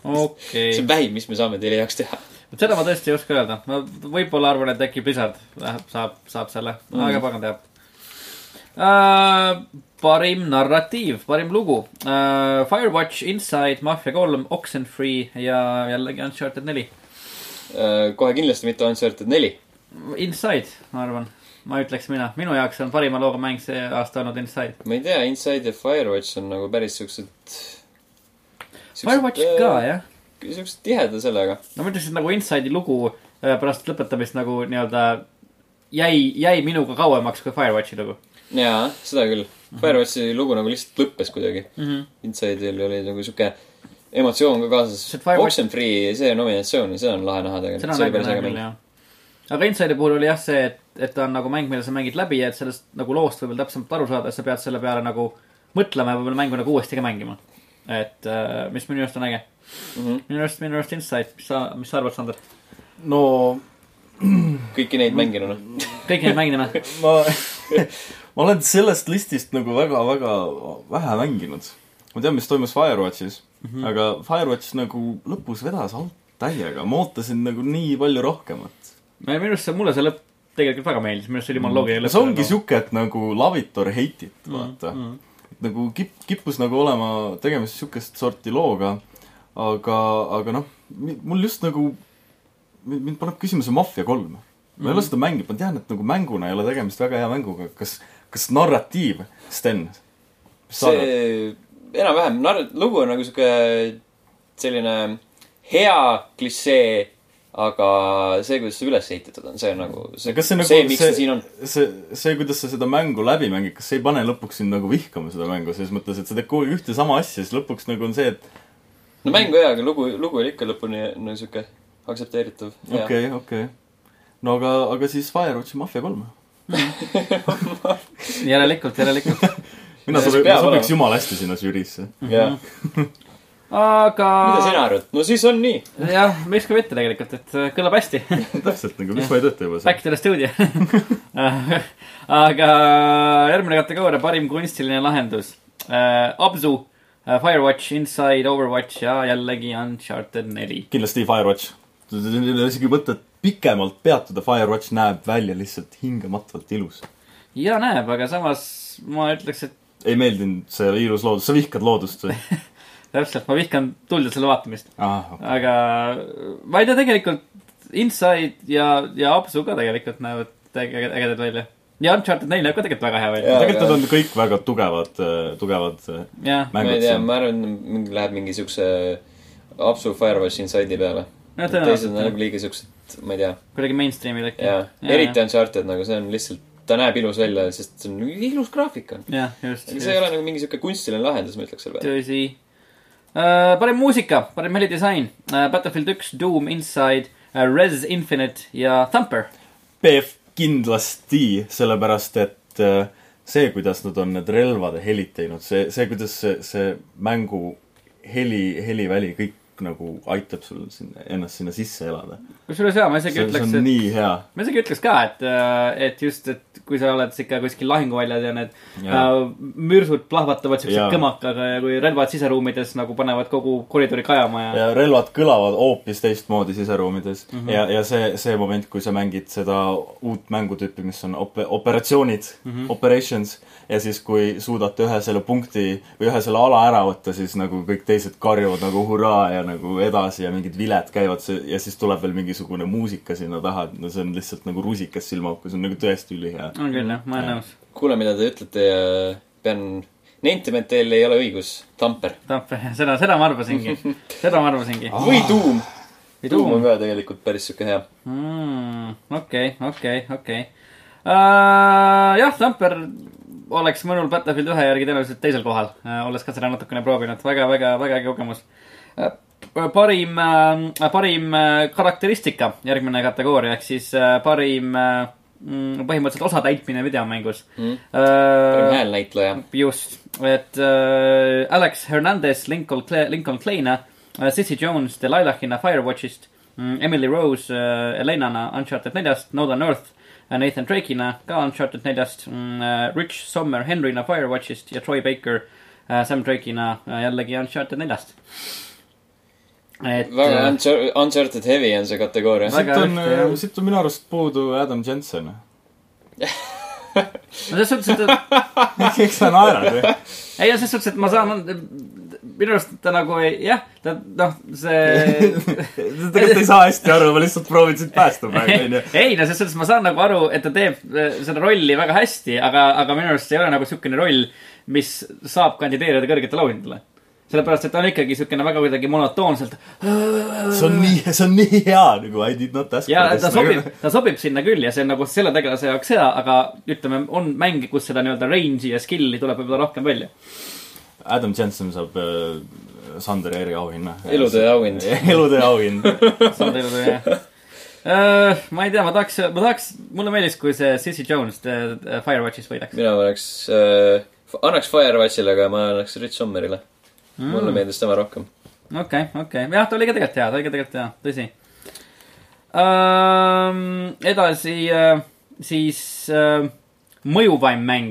okei
see on
okay. ,
vähim , mis me saame teile heaks teha .
seda ma tõesti ei oska öelda ,
Mhm.
ma võib-olla arvan , et äkki Blizzard läheb , saab , saab selle , aga pagan teab . Uh, parim narratiiv , parim lugu uh, . Firewatch , Inside , Mafia kolm , Oxenfree ja jällegi Uncharted neli .
Äh, kohe kindlasti mitte Uncharted neli .
Inside , ma arvan , ma ütleks mina , minu jaoks on parima looga mäng see aasta olnud Inside .
ma ei tea , Inside ja Firewatch on nagu päris siuksed .
Firewatch ka
Äh.
jah ,
siuksed tihedad sellega .
no ma ütleks , et nagu Inside'i lugu äh, pärast lõpetamist nagu nii-öelda jäi , jäi minuga kauemaks kui Firewatchi lugu
jaa , seda küll . Firewatchi lugu nagu lihtsalt lõppes kuidagi .
mm . -hmm.
Inside'il oli nagu sihuke emotsioon ka kaasas
See Firewatch- .
Oxenfree , see nominatsioon , seda on lahe näha
seda
tegelikult .
on
see oli
väga
päris
hea
äge
küll
mäng .
jah . aga Inside'i puhul oli jah see , et , et ta on nagu mäng , mille sa mängid läbi ja et sellest nagu loost võib-olla täpsemalt aru saada , sa pead selle peale nagu mõtlema ja võib-olla mängu nagu uuesti ka mängima . et äh, mis minu arust on äge .
Mhm.
minu arust , minu arust Inside , mis sa , mis sa arvad , Sander ?
no
kõiki neid mänginuna .
kõik need mängida ,
ma , ma olen sellest listist nagu väga-väga vähe mänginud . ma tean , mis toimus Firewatchis mm , -hmm. aga Firewatch nagu lõpus vedas alt täiega , ma ootasin nagu nii palju rohkemat .
minu arust see , mulle see lõpp tegelikult väga meeldis , minu arust see oli jumala
Mhm.
loogiline
see ongi . siuke , et nagu love it or hate it , vaata mm . -hmm. et nagu kip- , kippus nagu olema tegemist siukest sorti looga , aga , aga noh , mul just nagu , mind paneb küsima see Mafia kolm . ma ei ole seda mänginud , ma tean , et nagu mänguna ei ole tegemist väga hea mänguga , kas , kas narratiiv , Sten ?
see enam-vähem , lugu on nagu sihuke selline hea klišee , aga see , kuidas see üles ehitatud on , see on nagu see,
kas see nagu
see , miks see, see siin on .
see , see , kuidas sa seda mängu läbi mängid , kas see ei pane lõpuks sind nagu vihkama seda mängu , selles mõttes , et sa teed kogu aeg ühte sama asja , siis lõpuks nagu on see , et
no mäng hea , aga lugu , lugu oli ikka lõpuni no sihuke aktsepteeritav .
okei okay, , okei okay. . no aga , aga siis Firewatchi Mafia kolm .
järelikult , järelikult .
mina
See
sobi- ,
peab
sobiks
olema.
jumala hästi sinna žüriisse .
jaa .
aga
mida sina arvad ? no siis on nii .
jah , miks ka mitte tegelikult , et äh, kõlab hästi .
täpselt nagu , miks ma ei tööta juba seal
Back . to the studio . aga järgmine kategooria , parim kunstiline lahendus uh, . Abzu uh, , Firewatch , Inside , Overwatch ja jällegi Uncharted neli .
kindlasti Firewatch . ei ole isegi mõtet pikemalt peatuda , Firewatch näeb välja lihtsalt hingematvalt ilus .
ja näeb , aga samas ma ütleks , et
ei meeldinud see ilus loodus , sa vihkad loodust või ?
täpselt , ma vihkan tuldesele vaatamist .
ah ,
aga ma ei tea , tegelikult Inside ja , ja Abzu ka tegelikult näevad äge- ägedad välja . ja Uncharted neli näeb ka tegelikult väga hea välja .
Jaa,
tegelikult
aga-
nad on kõik väga tugevad , tugevad äh,
jah ,
ma ei
mängud
tea ,
siin .
ma arvan , mingi läheb mingi siukse äh, Apsu Firewatch Inside'i peale .
no
teised on
tõenäoliselt
nagu liiga siuksed , ma ei tea
kuidagi mainstream'il äkki .
jaa , eriti Uncharted nagu see on lihtsalt , ta näeb ilus välja , sest see on nagu ilus graafik on .
jah , just .
see ei ole nagu mingi siuke kunstiline lahendus , ma ütleks selle peale .
tõsi uh, . parem muusika , parem helidisain uh, , Battlefield üks , Doom , Inside uh, , Res Infinite ja Thumper .
PF kindlasti , sellepärast et äh, see , kuidas nad on need relvade helid teinud , see , see , kuidas see , see mängu heli , heliväli kõik nagu aitab sul sinna , ennast sinna sisse elada .
kusjuures jaa , ma
see
isegi
see on
ütleks , et ,
nii hea .
ma isegi ütleks ka , et uh, , et just , et kui sa oled ikka kuskil lahinguväljal ja need uh, mürsud plahvatavad siukse
Jaa.
kõmakaga ja kui relvad siseruumides nagu panevad kogu koridori kajama ja, ja.
ja relvad kõlavad hoopis teistmoodi siseruumides mm -hmm. ja , ja see , see moment , kui sa mängid seda uut mängutüüpi , mis on op- , operatsioonid mm , -hmm. operations , ja siis , kui suudate ühe selle punkti või ühe selle ala ära võtta , siis nagu kõik teised karjuvad nagu hurraa ja nagu edasi ja mingid viled käivad see, ja siis tuleb veel mingisugune muusika sinna taha , et no see on lihtsalt nagu rusikas silmaauku , see on nagu tõesti ülihea .
on küll jah , ma olen nõus .
kuule , mida te ütlete ja pean nentima , et teil ei ole õigus , Tamper .
Thumper , seda , seda ma arvasingi , seda ma arvasingi .
või Doom . Ah.
Või
Doom
Doom.
on ka tegelikult päris siuke hea .
Mm, okei , okei , okei . jah , Tamper oleks mõnul Battlefield ühe järgi tõenäoliselt teisel kohal , olles ka seda natukene proovinud väga, , väga-väga-väga äge kogemus . parim , parim äh, karakteristika , järgmine kategooria , ehk siis äh, parim äh, mm, põhimõtteliselt osatäitmine videomängus
Mm.
mm.
häälnäitleja .
just , et äh, Alex Hernandez Lincoln , Lincoln Kleina äh, , Sissy Jones Delilahina Firewatchist mm, , Emily Rose äh, Elenana Uncharted neljast , Northern Earth äh, Nathan Drake'ina ka Uncharted neljast mm, , äh, Rich Sommer Henry'na Firewatchist ja Troy Baker äh, Sam Drake'ina äh, jällegi Uncharted neljast . et
väga
äh,
Unchar- Uncharted Heavy on see kategooria .
Väga
siit on
ühte, jah. ,
siit on minu arust puudu Adam Jensen .
no selles suhtes , et ,
miks sa naerad või ?
ei no selles suhtes , et ma saan , minu arust ta nagu ei , jah , ta noh , see
tegelikult ei saa hästi aru , ma lihtsalt proovin sind päästa praegu , onju .
ei no selles suhtes ma saan nagu aru , et ta teeb eh, seda rolli väga hästi , aga , aga minu arust see ei ole nagu siukene roll , mis saab kandideerida kõrgetele auhindadele . sellepärast , et ta on ikkagi siukene väga kuidagi monotoonselt .
see on nii , see on nii hea nagu I did not ask
ja ta sobib , ta sobib sinna küll ja see on nagu selle tegelase jaoks hea , aga ütleme , on mänge , kus seda nii-öelda range'i ja skill'i tuleb võib-olla rohkem välja .
nagu- Adam Jensen saab äh, Sander Eri auhinna .
Elutöö auhind.
elutöö auhind .
saad aru , jah . ma ei tea , ma tahaks , ma tahaks , mulle meeldis , kui see Sissy Jones äh, Firewatchis võidaks .
mina paneks äh, , annaks Firewatchile , aga ma annaks Rich Summerile mm. . mulle meeldis tema rohkem .
okei , okei , jah , ta oli ka tegelikult hea , ta oli ka tegelikult hea , tõsi ähm, . edasi äh, siis äh, mõjuvaim mäng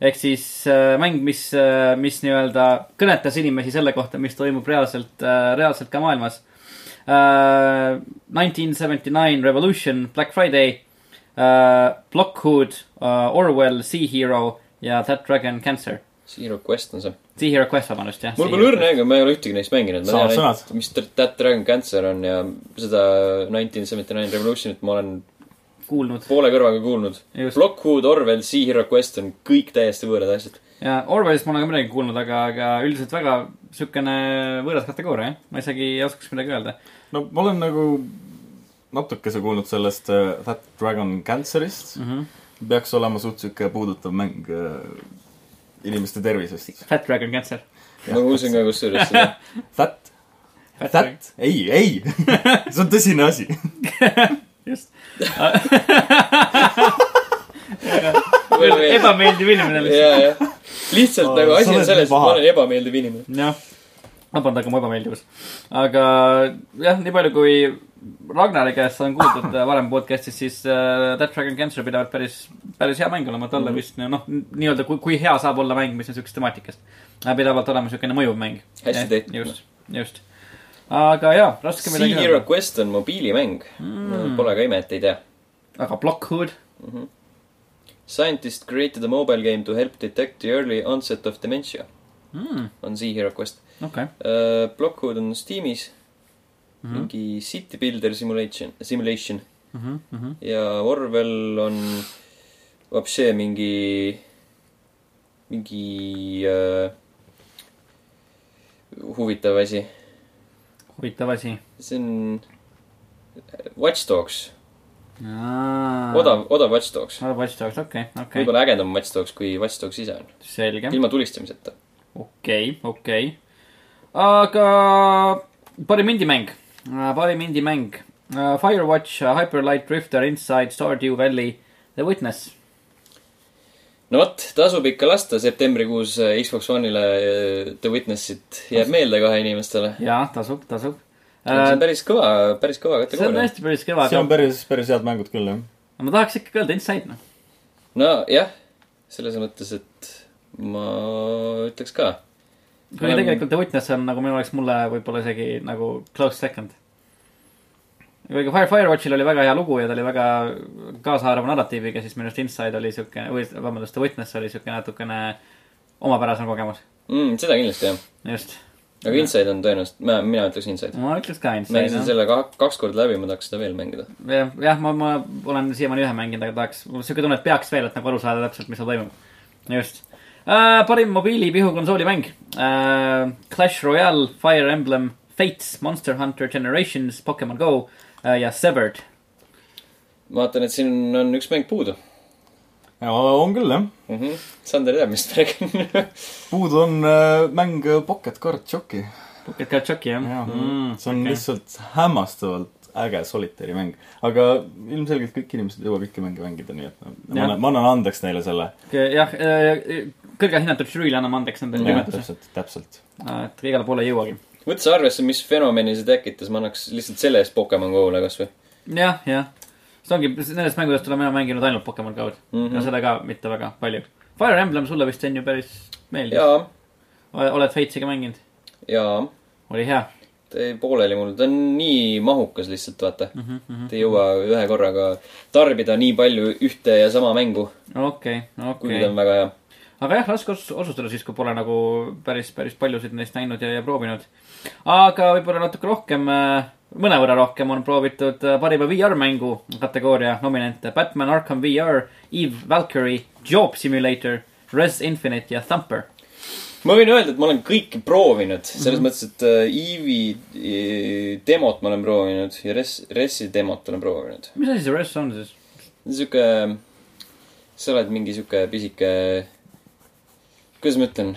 ehk siis äh, mäng , mis äh, , mis nii-öelda kõnetas inimesi selle kohta , mis toimub reaalselt äh, , reaalselt ka maailmas äh, . Nineteen seventy nine Revolution , Black Friday äh, , Blockhood äh, , Orwell , Sea Hero ja That Dragon Cancer .
Zero Quest on see .
Sea Hero Quest , vabandust , jah .
mul pole õrna aimu , ma ei ole ühtegi neist mänginud . ma
Samad
tean ainult
sõnad. ,
mis Dr- That Dragon Cancer on ja seda Nineteen Seventy Nine Revolutionit ma olen
kuulnud .
poole kõrvaga kuulnud .
Just.
Blockhood , Orwell , Sea Hero Quest on kõik täiesti võõrad asjad .
ja Orwellist ma olen ka midagi kuulnud , aga , aga üldiselt väga siukene võõras kategooria , jah . ma isegi ei oskaks midagi öelda .
no ma olen nagu natukese kuulnud sellest äh, That Dragon Cancerist mm . -hmm. peaks olema suht sihuke puudutav mäng äh, inimeste tervisest .
Fat Dragon Cancer .
ma kuulsin ka kusjuures seda .
That , That , ei , ei , see on tõsine asi .
just .
ja ,
ebameeldiv inimene lihtsalt .
jah . lihtsalt
Aa,
nagu
sa
asi on
oled
selles ,
nii
et ma
paha.
olen ebameeldiv inimene .
jah . vabandage mu ebameeldivus . aga jah , nii palju kui Ragnari käest on kuuldud äh, varem podcast'is , siis äh, That Dragon Cancer pidavat päris , päris hea mäng olema , et
Mhm.
olla vist noh , nii-öelda kui , kui hea saab olla mäng , mis on siukest temaatikast . pidavat olema siukene mõjuv mäng .
Hästi tehtud.
just , just . aga jaa , raske
Sea
midagi
Hero
öelda .
Quest on mobiilimäng mm. . Pole ka ime , et ei tea .
aga Blockhood ,
Scientists created a mobile game to help detect the early onset of dementia mm. . on Sea Hero Quest
Hmm, okei okay. .
uh, . Blockhood on Steamis mm. . mingi City Builder Simulation , Simulation
Mhm, mhm.
ja Orwell on vapšee mingi , mingi uh, huvitav asi .
huvitav asi .
see on äh, Watch Dogs , odav , odav Watch Dogs .
odav Watch Dogs , okei , okei .
võib-olla ägedam Watch Dogs , kui Watch Dogs ise on .
selge ,
ilma tulistamiseta .
okei , okei . aga parim indimäng , parim indimäng . Firewatch , Hyperlight Drifter , Inside , Stardew Valley , The Witness .
no vot , tasub ikka lasta septembrikuus äh, Xbox One'ile äh, The Witnessit jääb meelde kahe inimestele .
jaa , tasub , tasub .
see on
see
päris kõva , päris kõva
Äh, on
kategooria .
tõesti päris kõva ,
see on
aga
päris , päris head mängud küll , jah .
ma tahaks ikkagi öelda Inside , noh .
nojah , selles mõttes , et ma ütleks ka .
kuigi tegelikult The Witness on nagu minu jaoks mulle võib-olla isegi nagu close second . kuigi Fire , Firewatchil oli väga hea lugu ja ta oli väga kaasaarva narratiiviga , siis minu arust Inside oli siuke , või vabandust , The Witness oli siuke natukene omapärasem kogemus .
mm, . seda kindlasti jah .
just ,
aga Inside on tõenäoliselt , mina , mina ütleks Inside .
ma ütleks ka
mängisin
Ah, Inside ,
selle ka, kaks korda läbi , ma tahaks seda veel mängida .
jah . jah , ma , ma olen siiamaani ühe mänginud , aga tahaks , mul on siuke tunne , et peaks veel , et nagu aru saada täpselt , mis seal toimub . just uh, . parim mobiilipihukonsooli mäng uh, . Clash Royale , Fire Emblem , Fates , Monster Hunter Generations , Pokemon Go uh, ja Severed .
ma vaatan , et siin on üks mäng puudu
on küll , jah .
mm . -hmm. Sander teab , mis ta räägib .
puudu on äh, mäng Pocket Card Jockey .
Pocket Card Jockey jah
jah
mm,
mm, , see
okei.
on okay. lihtsalt hämmastavalt äge solitaari mäng . aga ilmselgelt kõik inimesed ei jõua kõiki mänge mängida , nii et no, ma
Jah.
annan- ma annan andeks neile selle .
jah , kõrge hinnatud žüriile anname andeks nende nimetuse ,
täpselt , täpselt .
et igale poole ei jõuagi .
võttes arvesse , mis fenomeni see tekitas , ma annaks lihtsalt selle eest Pokemon Go-le kasvõi .
jah , jah . see ongi , nendest mängudest olen mina mänginud ainult Pokemon Go'd mm -hmm. ja seda ka mitte väga palju . Fire Emblem sulle vist on ju päris meeldis .
jaa ,
oled Fatesiga mänginud ?
jaa
oli hea .
ei , pooleli mul , ta on nii mahukas lihtsalt , vaata mm . -hmm. et ei jõua ühe korraga tarbida nii palju ühte ja sama mängu ,
okei ,
kuigi
okei
ta . on väga hea .
aga jah , raske os- otsustada siis , kui pole nagu päris , päris paljusid neist näinud ja , ja proovinud . aga võib-olla natuke rohkem , mõnevõrra rohkem on proovitud äh, parima VR-mängu kategooria nominente Batman Arkham VR , Eve Valkyrie , Job Simulator , Res Infinite ja Thumper .
ma võin öelda , et ma olen kõiki proovinud , selles mm -hmm. mõttes , et äh, Eevi äh, demot ma olen proovinud ja Res , Resi demot olen proovinud .
mis asi see Res on siis ?
sihuke , sa oled mingi sihuke pisike , kuidas ma ütlen ,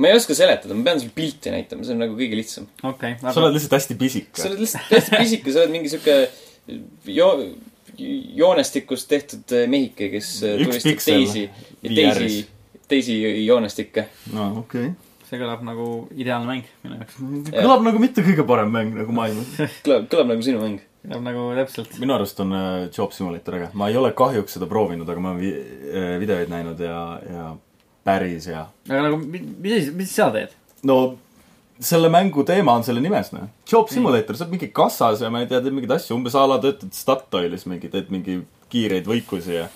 ma ei oska seletada , ma pean sulle pilti näitama , see on nagu kõige lihtsam .
okei
sa oled lihtsalt hästi pisik
sa . oled lihtsalt hästi pisike , sa oled mingi sihuke jo- , joonestikust tehtud äh, mehike , kes
Üks
tulistab
piksel
teisi , teisi
VR-is. ,
teisi joonestikke .
no okei
see kõlab nagu ideaalne mäng minu jaoks .
okay. . kõlab nagu mitte kõige parem mäng nagu maailmas .
kõlab , kõlab nagu sinu mäng .
kõlab nagu täpselt .
minu arust on äh, Job Simulator äge . ma ei ole kahjuks seda proovinud , aga ma olen vi- äh, videoid näinud ja , ja päris hea .
aga nagu , mis asi , mis sa teed ?
no selle mängu teema on selle nimes , noh . Job Simulator , sa oled mingi kassas ja ma ei tea , teed mingeid asju , umbes a la töötad Statoilis mingi , teed mingi kiireid võikusi ja .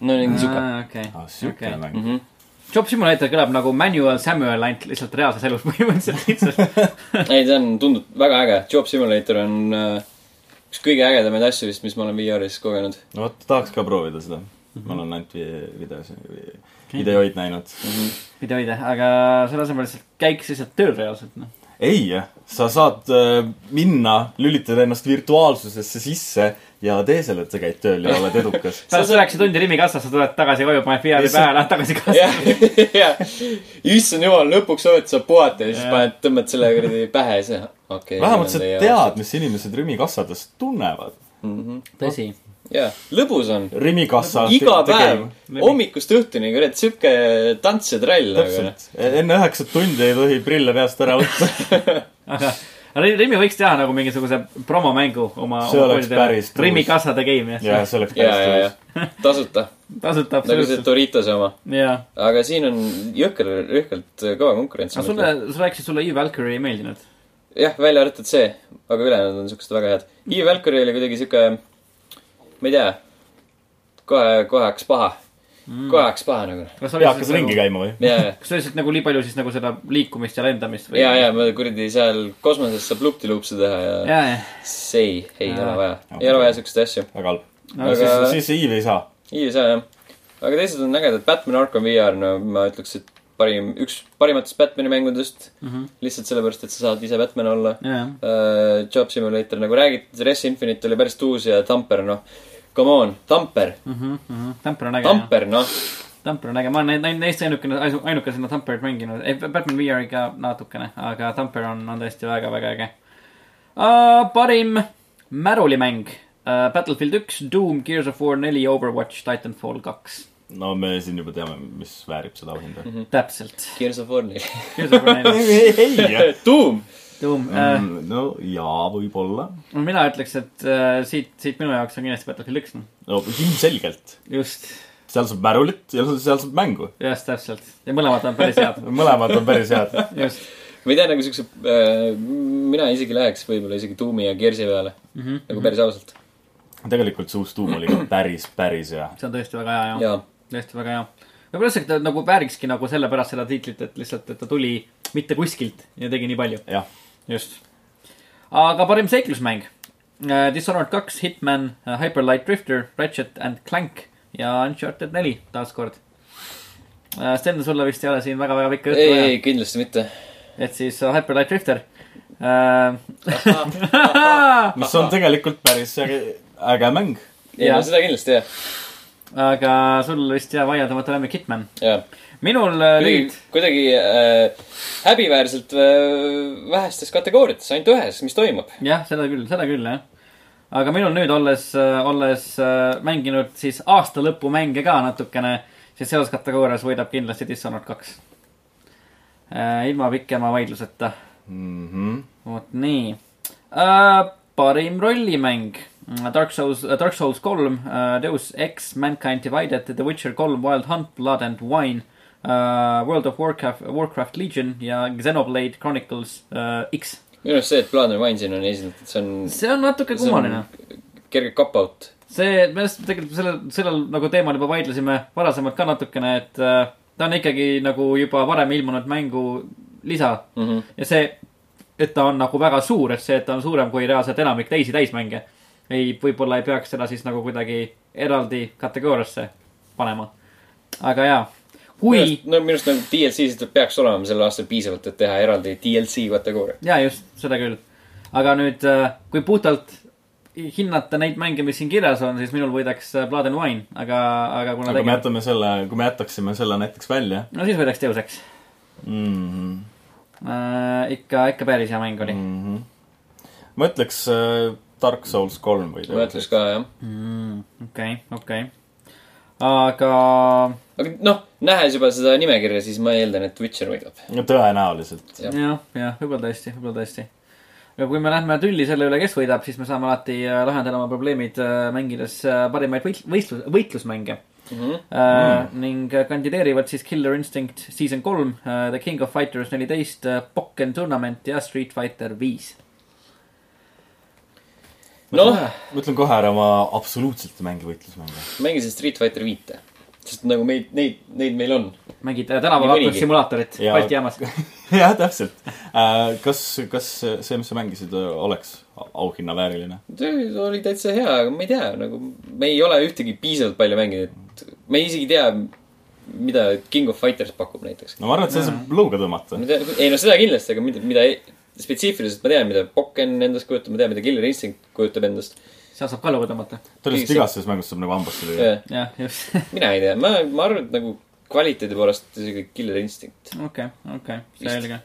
no mingi sihuke .
Ah.
Ah,
Mhm.
okei ,
aa , siukene
okei
okay. . mäng .
Job Simulator kõlab nagu Manuel Samuel , ainult lihtsalt reaalses elus põhimõtteliselt lihtsalt .
ei , see on , tundub väga äge . Job Simulator on äh, üks kõige ägedamaid asju vist , mis ma olen VR-is kogenud .
no vot , tahaks ka proovida seda mm .
Mhm.
-hmm. ma olen ainult vi- videos , videoid näinud .
videoide , aga selle asemel lihtsalt käiks lihtsalt tööl reaalselt , noh .
ei , sa saad äh, minna , lülitada ennast virtuaalsusesse sisse ja tee selle , et sa käid tööl ja oled edukas .
pärast üheksa tundi Rimi kassas , sa tuled tagasi koju , paned VR-i
Lihtsalt-
pähe , lähed tagasi kassasse .
jah , jah . issand jumal , lõpuks oled sa puhata ja siis paned , tõmbad selle kuradi pähe ja siis , okei .
vähemalt sa tead , mis inimesed Rimi kassadest tunnevad .
tõsi .
jah , lõbus on .
Rimi kassa .
iga päev , hommikust õhtuni , kurat , sihuke tants ja trall , aga noh .
täpselt , enne üheksat tundi ei tohi prille peast ära võtta .
aga aga Rimi võiks teha nagu mingisuguse promomängu oma .
See oleks päris tõus.
Rimi kassade game ,
ja
jah .
see oleks
ja ,
päris
ja ,
tõus .
ja tasuta ,
tasuta
nagu see
absoluutselt .
Doritose oma .
jaa .
aga siin on jõhker , jõhkralt kõva konkurents
Nagu
aga . sulle , sa rääkisid , sulle E-Valkyrie ei meeldinud .
jah , välja arvatud see , aga ülejäänud on siuksed väga head . Eve Valkyrie oli kuidagi sihuke , ma ei tea , kohe , kohe hakkas paha ,
Mm.
kohe hakkas paha nagu .
ja hakkas ringi käima või ?
ja , ja ,
kas sa lihtsalt nagu nii palju siis nagu seda liikumist ja lendamist või ?
ja , ja ma kuradi seal kosmoses saab lupti-lupsi teha ja
jaa , jah .
siis ei , ei ole
Jaa.
vaja , ei ole vaja siukseid asju .
väga halb .
Aga-
aga siis , siis Eve ei saa .
ei saa jah . aga teised on ägedad , Batman Arkham VR , no ma ütleks , et parim , üks parimatest Batmani mängudest mm .
Mhm.
-hmm. lihtsalt sellepärast , et sa saad ise Batman olla
jaa , jah .
uh, . Job Simulator , nagu räägitud , Res Infinite oli päris uus ja Tamper , noh . Come on , Tamper ,
Tamper Mhm. on äge .
Tamper , noh .
Tamper on äge , ma olen neid- neid , neist ainukene , ainukesena Tamperit mänginud , ei Batman VR ikka natukene , aga Tamper on , on tõesti väga-väga äge uh, . parim märulimäng uh, Battlefield üks , Doom , Gears of War neli , Overwatch , Titanfall kaks
no me siin juba teame , mis väärib seda auhinda .
mm. . täpselt .
Gears of War'i .
Gears of War neli ,
ei ,
Doom ,
Doom uh, .
no jaa , võib-olla .
mina ütleks , et uh, siit , siit minu jaoks on kindlasti Battlefield üks , noh .
no ilmselgelt .
just ,
seal saab märulit ja seal saab mängu .
just täpselt ja mõlemad on päris head ,
mõlemad on päris head .
just
ma ei tea , nagu siukse uh, , mina isegi läheks võib-olla isegi Doomi ja Gears'i peale mm .
Mhm.
-hmm. nagu päris ausalt .
tegelikult see uus tuum oli ka päris , päris hea .
see on tõesti väga hea jaam .
jaa ,
tõesti väga hea . võib-olla lihtsalt ta nagu väärikski nagu sellepärast seda tiitlit , et lihtsalt , et ta tuli mitte kuskilt ja tegi nii palju .
jah ,
just . aga parim seiklusmäng uh, . Dishonored kaks , Hitman uh, , Hyper Light Drifter , Ratchet and Clank ja Uncharted neli taaskord uh, . Sten , sulle vist ei ole siin väga-väga pikka juttu
ei ,
vaja
ei ,. kindlasti mitte .
et siis uh, Hyper Light Drifter uh, .
mis on tegelikult päris äge, äge mäng .
ei ,
Jaa.
no seda kindlasti jah ,
aga sul vist jääb vaieldamatu lemmik Hitman .
jaa
minul uh,
kuidagi
nüüd ,,
kuidagi äh, häbiväärselt äh, vähestes kategooriates , ainult ühes , mis toimub .
jah , seda küll , seda küll , jah . aga minul nüüd olles , olles äh, mänginud siis aasta lõpumänge ka natukene , siis selles kategoorias võidab kindlasti Dishonored kaks . ilma pikema vaidluseta .
Mhm.
vot nii . parim rollimäng . Dark Souls , äh, Dark Souls kolm , Deus Ex , Mankind Divided , The Witcher kolm , Wild Hunt , Blood and Wine , äh, World of Warcraft , Warcraft Legion ja Xenoblade Chronicles äh, X .
minu arust see , et Blood and Wine siin on esindatud , see on ,
see on natuke
see
kummaline
on . kerge cop-out .
see , me just tegelikult sellel , sellel nagu teemal juba vaidlesime varasemalt ka natukene , et äh, ta on ikkagi nagu juba varem ilmunud mängu lisa
Mm -hmm.
ja see , et ta on nagu väga suur , et see , et ta on suurem kui reaalselt enamik teisi täismänge , ei , võib-olla ei peaks seda siis nagu kuidagi eraldi kategooriasse panema . aga jaa , kui ,
no minu arust nagu DLC-sid peaks olema sel aastal piisavalt , et teha eraldi DLC kategooria .
jaa just , seda küll . aga nüüd , kui puhtalt hinnata neid mänge , mis siin kirjas on , siis minul võidaks äh, Blood and Wine , aga , aga kuna
aga kui me
tegema-
jätame selle , kui me jätaksime selle näiteks välja
no siis võidaks Deus Ex
mm . -hmm
äh, . ikka , ikka päris hea mäng oli .
mm . -hmm. ma ütleks äh, Dark Souls kolm või
ma ütleks ka , jah .
Mm, okei , okei . aga
aga noh , nähes juba seda nimekirja , siis ma eeldan , et Witcher võidab .
no tõenäoliselt .
Jah.
jah , jah , võib-olla tõesti , võib-olla tõesti . aga kui me lähme tülli selle üle , kes võidab , siis me saame alati äh, lahendada oma probleemid äh, mängides äh, parimaid võit- , võistlus , võitlusmänge
mm . -hmm.
äh, mm. . ning äh, kandideerivad siis Killer Instinct Season kolm , The King of Fighters neliteist , Pokken Tournament ja Street Fighter viis .
noh ,
ma ütlen kohe ära , ma absoluutselt ei mängi võitlusmänge .
mängisin Street Fighter viite , sest nagu meid , neid , neid meil on .
mängid äh, tänavakakkus
mõnigi.
simulaatorit
Ja-
Balti jaamas .
jah , täpselt äh, . kas , kas see , mis sa mängisid , oleks auhinna vääriline ?
oli täitsa hea , aga ma ei tea , nagu me ei ole ühtegi piisavalt palju mänginud , et me ei isegi tea , mida King of Fighters pakub näiteks .
no ma arvan , et see saab lõuga tõmmata .
ma tean , ei no seda kindlasti , aga mida , mida ei- spetsiifiliselt ma tean , mida Pokken endast kujutab , ma tean , mida Killer Instinct kujutab endast .
seal saab ka lugu tõmmata .
tõenäoliselt igasse mängus saab nagu hambasse lüüa .
jah , just
mina ei tea , ma , ma arvan , et nagu kvaliteedi poolest isegi Killer Instinct
okei , okei ,
Vist.
selge .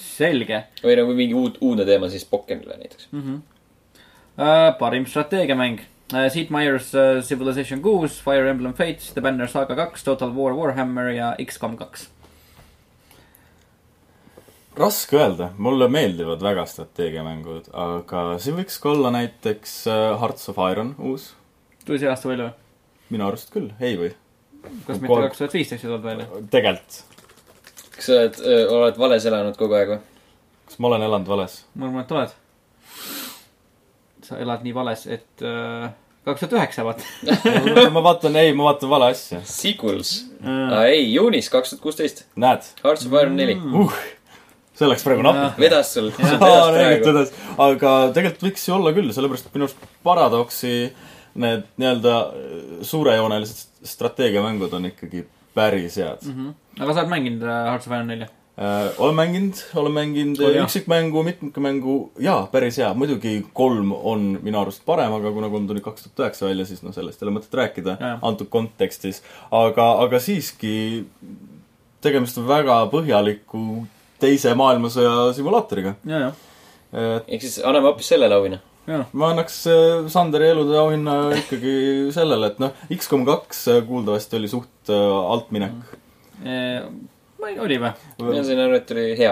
selge
või nagu mingi uud , uudne teema siis Pokkenile näiteks .
mm . -hmm. Uh, parim strateegiamäng uh, . Sid Meier's uh, Civilization kuus , Fire Emblem Fates , The Banner Saga kaks , Total War Warhammer ja X-kom kaks .
raske öelda , mulle meeldivad väga strateegiamängud , aga see võiks ka olla näiteks äh, Hearts of Iron uus .
tuli see aasta välja või ?
minu arust küll , ei või ?
kas mitte
Kolm-
kaks tuhat viisteist ei tulnud välja ?
tegelikult ,
kas sa oled , oled vales elanud kogu aeg või ?
kas ma olen elanud vales ?
ma arvan , et oled . sa elad nii vales , et äh, kaks tuhat üheksa vaata .
ma vaatan , ei , ma vaatan vale asja .
Sequels ah, ? ei , juunis kaks tuhat kuusteist ,
näed
Hearts of Iron neli .
uh, , see läks praegu napilt .
vedas sul ,
Aa,
sul vedas
räägid
praegu .
tõdes. aga tegelikult võiks ju olla küll , sellepärast et minu arust Paradoxi need nii-öelda äh, suurejoonelised st- strateegiamängud on ikkagi päris head mm . -hmm.
aga sa oled mänginud äh, Hearts of Iron nelja ?
olen mänginud , olen mänginud
Oli
äh,
hea.
üksikmängu , mitmikmängu jaa , päris hea . muidugi kolm on minu arust parem , aga kuna kolm tuli kaks tuhat üheksa välja , siis noh , sellest ei ole mõtet rääkida
Jajah.
antud kontekstis . aga , aga siiski tegemist on väga põhjaliku teise maailmasõja simulaatoriga .
ja , ja ,
et
ehk siis anname hoopis selle lauina .
ja .
ma annaks äh, Sanderi elude auhinna ikkagi sellele , et noh , X-kom kaks äh, kuuldavasti oli suht äh, altminek .
Äh, oli või ?
mina sain aru , et oli hea .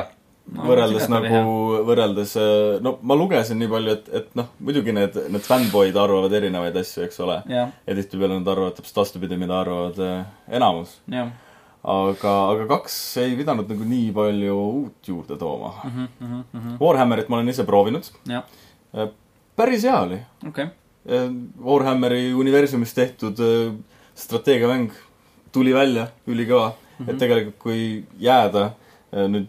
võrreldes nagu , võrreldes , no ma lugesin nii palju , et , et noh , muidugi need , need fännboid arvavad erinevaid asju , eks ole .
jah ,
ja tihtipeale nad arvavad täpselt vastupidi , mida arvavad äh, enamus .
jah .
aga , aga kaks ei pidanud nagu nii palju uut juurde tooma mm .
jah ,
-hmm. Warhammerit ma olen ise proovinud . päris hea oli
okei .
Eh, Warhammeri universumis tehtud eh, strateegiamäng tuli välja , ülikõva mm . -hmm. et tegelikult , kui jääda eh, nüüd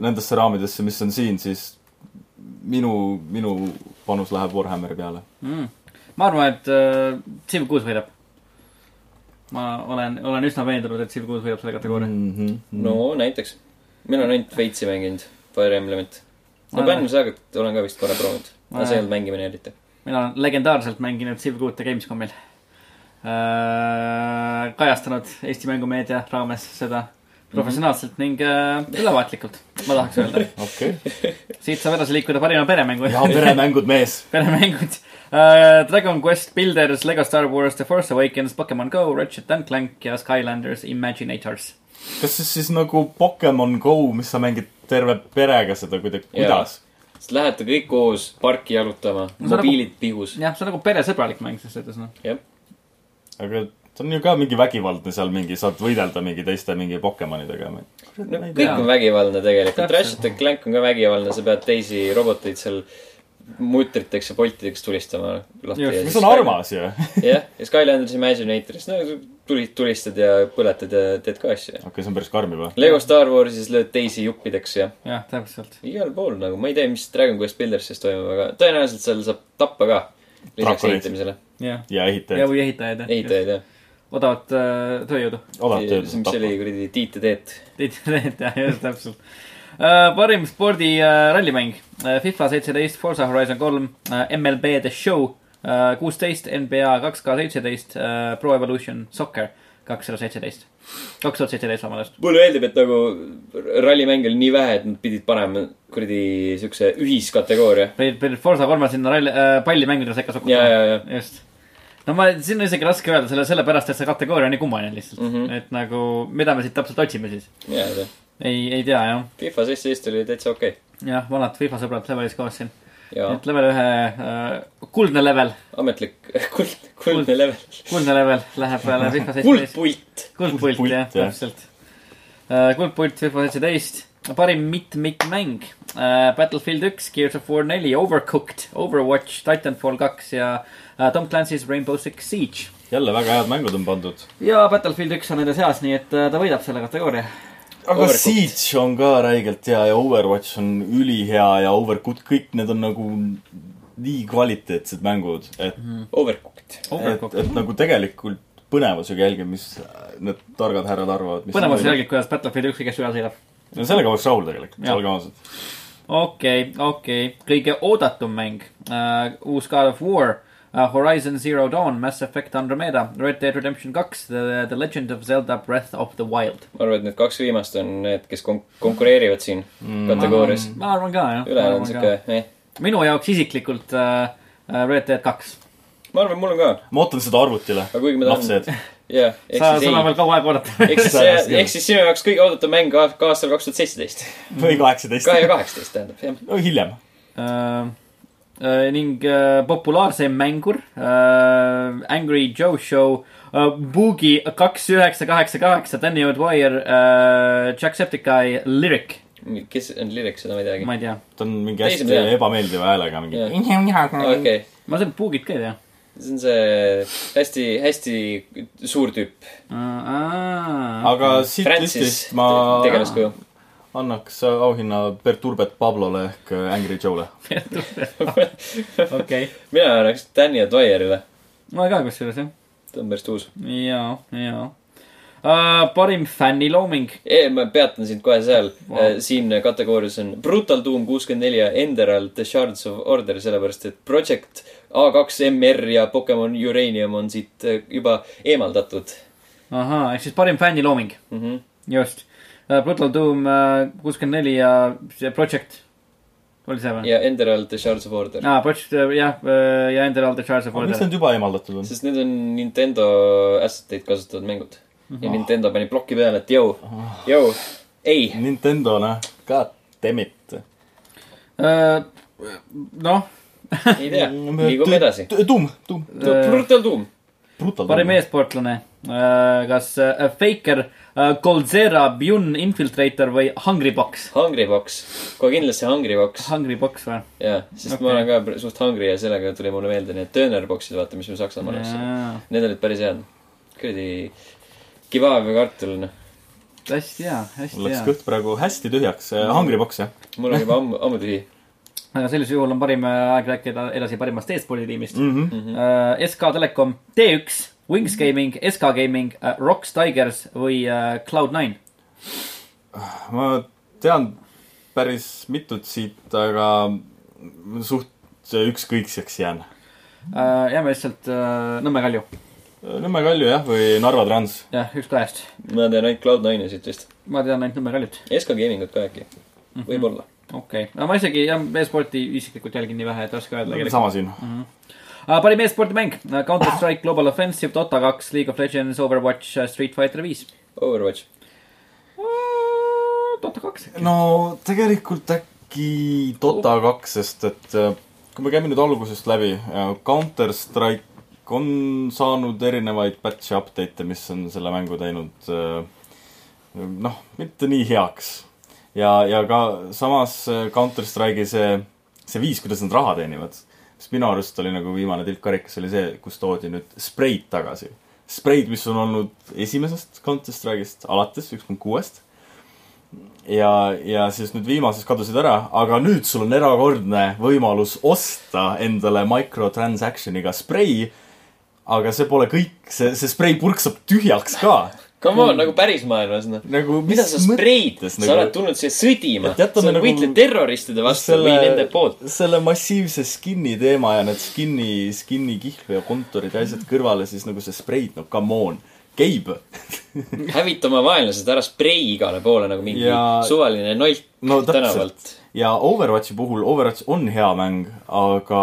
nendesse raamidesse , mis on siin , siis minu , minu panus läheb Warhammeri peale .
mm. . ma arvan , et äh, Civ kuus võidab . ma olen , olen üsna veendunud , et Civ kuus võidab selle kategooria mm. .
no näiteks . mina olen ainult veitsi mänginud , Fire Emblemit .
Ma
no
olen-
Banner Sagat olen ka vist korra proovinud ,
Ma
aga see ei
olen-
olnud mängimine eriti .
mina olen legendaarselt mänginud Civ kuute Gamescomil äh, . kajastanud Eesti Mängumeedia raames seda professionaalselt ning äh, ülevaatlikult , ma tahaks öelda .
okei okay. .
siit saab edasi liikuda parima peremängu .
ja peremängud , mees .
peremängud uh, . Dragon Quest Builders , Lego Star Wars The Force Awakens , Pokemon Go , Ratchet and Clank ja Skylanders Imaginators .
kas siis , siis nagu Pokemon Go , mis sa mängid terve perega seda kuidagi ,
Jaa.
kuidas ?
siis lähete kõik koos parki jalutama ,
No see on
mobiilid pihus .
jah , see on nagu peresõbralik mäng , selles suhtes noh .
jah ,
aga see on ju ka mingi vägivaldne seal mingi , saad võidelda mingi teiste mingi Pokemonidega .
no kõik on vägivaldne tegelikult ,
Täpselt.
Ratchet and Clank on ka vägivaldne , sa pead teisi roboteid seal mutriteks ja poltideks tulistama lahti .
Just,
mis on armas ju .
jah , ja Skylanders Imaginatoris , no tulid , tulistad ja põletad ja teed ka asju .
okei , see on päris karm juba .
Lego Star Warsis lööd teisi juppideks ja
jah , täpselt .
igal pool nagu , ma ei tea , mis Dragon Quest Buildersis toimub , aga tõenäoliselt seal saab tappa ka . lisaks
Drakoneid.
ehitamisele ,
jah ,
ja
ja
ehitajaid ,
või ehitajaid .
ehitajaid jah .
odavat äh, tööjõudu .
odavad
see , mis
töölised
see oli
tapavad .
kuradi Tiit ja Teet .
internet jah , just täpselt uh, . parim spordi uh, rallimäng uh, FIFA seitseteist , Forza Horizon kolm uh, , MLB The Show kuusteist uh, , NBA kaks K seitseteist uh, , Pro Evolution Soccer kakssada seitseteist , kaks tuhat seitseteist vabandust .
mulle meeldib , et nagu rallimänge oli nii vähe , et nad pidid panema kuradi siukse ühiskategooria .
pidid , pidid Forza kolme sinna ralli uh, , pallimängudele sekka
ja ,
sokutama .
ja , ja
just . no ma , siin on isegi raske öelda selle , sellepärast , et see kategooria on nii kummaline lihtsalt mm .
Mhm.
-hmm. et nagu , mida me siit täpselt otsime siis ?
ja , ja
ei , ei tea jah .
FIFA seitseteist oli täitsa okei okay. .
jah , vanad FIFA sõbrad levelis koos siin .
ja
et level ühe uh, , kuldne level
ametlik kuld , kuldne level .
kuldne level läheb peale FIFA seitseteist .
kuldpult .
kuldpult
Kuldpult,
jah ,
jah.
täpselt . kuldpult FIFA seitseteist , parim mitmikmäng . Battlefield üks , Gears of War neli , Overcooked , Overwatch , Titanfall kaks ja äh, Tom Clancy's Rainbow Six Siege .
jälle väga head mängud on pandud .
ja Battlefield üks on nende seas , nii et äh, ta võidab selle kategooria .
aga
Overcooked.
Siege on ka räigelt hea ja Overwatch on ülihea ja Overcooked , kõik need on nagu nii kvaliteetsed mängud , et ,
Mhm.
Mhm.
Overcooked .
et ,
Overcooked.
et nagu tegelikult põnevusega jälgin , mis need targad härrad arvavad .
põnevalt sa . jälgid , kuidas Battlefield üks kõigest üle sõidab .
no sellega oleks rahul tegelikult ,
Jah.
olgem ausad .
okei , okei , kõige oodatum mäng uh, , uus God of War uh, , Horizon Zero Dawn , Mass Effect Andromeda , Red Dead Redemption kaks , The , The Legend of Zelda Breath of the Wild .
ma arvan , et need kaks viimast on need , kes kon- , konkureerivad siin mm. kategoorias .
ma arvan ka jah .
ülejäänud on siuke , eh .
minu jaoks isiklikult uh, Red Dead kaks .
ma arvan , mul on ka ,
ma ootan seda arvutile .
aga kuigi ma
lapsed
tahan ,, jah .
sa , sul on veel kaua aega oodata .
ehk siis
Sa-
see ,
jah.
ehk siis sinu jaoks kõige oodatum mäng ka ka aastal kaks tuhat seitseteist .
või kaheksateist
kahe , Mm. ja kaheksateist tähendab , jah .
no hiljem .
Uh, uh, ning uh, populaarsem mängur uh, , Angry Joe Show uh, , Boogie kaks üheksa kaheksa kaheksa , Danny O'Dwyer uh, , Jacksepticeye , Lyric ,
kes on Lyric , seda ma ei teagi .
ma ei tea .
ta on mingi
Teise
hästi
peale.
ebameeldiva häälega mingi
Jah. .
Okay.
okei ,
ma seda Boogit ka ei tea
see on see hästi , hästi suur tüüp .
uh, .
aga siit
Mm. Francis
listist ma
te- tegelaskuju .
annaks auhinna Perturbet Pablole ehk äh, Angry Joe'le .
okei ,
mina annaks Danny O'Dwyerile .
ma ka kusjuures jah ,
ta on päris uus .
ja , ja uh, . parim fännilooming ,
ei , ma peatan sind kohe seal
Vau.
wow. . siin kategoorias on Brutal Doom kuuskümmend neli ja Enderal The Shards of Order , sellepärast et Project A2 MR ja Pokemon Uranium on siit eh, juba eemaldatud
ahaa , ehk siis parim fännilooming ,
mm . -hmm.
just uh, . Brutal Doom äh, kuuskümmend neli ja see Project , oli see või ?
ja Enderal The Shards of Order no. .
aa , Project , jah , ja Ender All The Charles of
miks
Order .
need juba eemaldatud on ?
sest need on Nintendo asset eid kasutavad mängud mm . -hmm.
Mhm.
ja Nintendo pani ploki peale , et jõu , jõu , ei .
Nintendo , noh , god damn it .
noh ,
ei tea ,
Mm,
liigume edasi .
tuum , tuum ,
Brutal Doom .
brutal .
parim . eessportlane , kas äh, Faker , Goldzera , Bjun , Infiltrator või Hungry Box ?
Hungry Box , kohe kindlasti Hungry Box .
Hungry Box või ?
jah , sest okay.
Okei.
ma olen ka pr- suht hungry ja sellega tuli mulle meelde need döönerboxid , vaata , mis me Saksamaal ostsime .
hästi
Need olid päris head . kuradi kebab ja kartul , noh .
hea ,
mul
hästi
läks
hea .
kõht praegu hästi tühjaks . Hungrybox , jah .
mul on juba ammu , ammu tühi .
aga sellisel juhul on parim äh, aeg rääkida edasi parimast e-sporditiimist .
Mhm.
Äh, SK Telekom , T1 , Wings Gaming , SK Gaming , Rocks Tigers või äh, Cloud9
ma tean päris mitut siit , aga ma suht ükskõikseks jään .
äh, . jääme lihtsalt äh, Nõmme Kalju ,
Nõmme Äh, Kalju jah , või Narva Trans .
jah , üks kahest .
ma tean ainult Cloud9-e siit vist .
ma tean ainult Nõmme Kaljut .
SK Gamingut ka äkki .
Mhm.
võib-olla .
okei okay. , no ma isegi jah , e-sporti isiklikult jälgin nii vähe , et raske öelda .
sama
Mhm.
siin .
parim e-spordimäng Counter Strike Global Offensive , Dota kaks , League of Legends , Overwatch , Street Fighter viis .
Overwatch .
Dota kaks .
no tegelikult äkki Dota kaks , sest et äh, kui me käime nüüd algusest läbi , Counter Strike Epic äh, on saanud erinevaid patch'e , update'e , mis on selle mängu teinud äh, noh , mitte nii heaks . ja , ja ka samas äh, Counter Strike'i see , see viis , kuidas nad raha teenivad . sest minu arust oli nagu viimane tilkarikas oli see , kus toodi nüüd spreid tagasi . spreid , mis on olnud esimesest Counter Strike'ist alates , üks punkt kuuest . ja , ja siis nüüd viimases kadusid ära , aga nüüd sul on erakordne võimalus osta endale microtransaction'iga sprei . aga see pole kõik , see , see spreipurk saab tühjaks ka .
Come on , nagu päris maailmas , noh .
nagu
mida sa spreid , sa oled tulnud siia sõdima ,
Et
sa
jätame
nagu...
nagu
võitled terroristide vastu selle... või nende poolt .
selle massiivse skin'i teema ja need skin'i , skin'i kihlu ja kontorid ja asjad kõrvale , siis nagu see spreid , no come on , käib .
hävita oma vaenlased ära , sprei igale poole nagu mingi ja...
Ja-
suvaline nolt
no täpselt
tänavalt ..
ja Overwatchi puhul , Overwatch on hea mäng , aga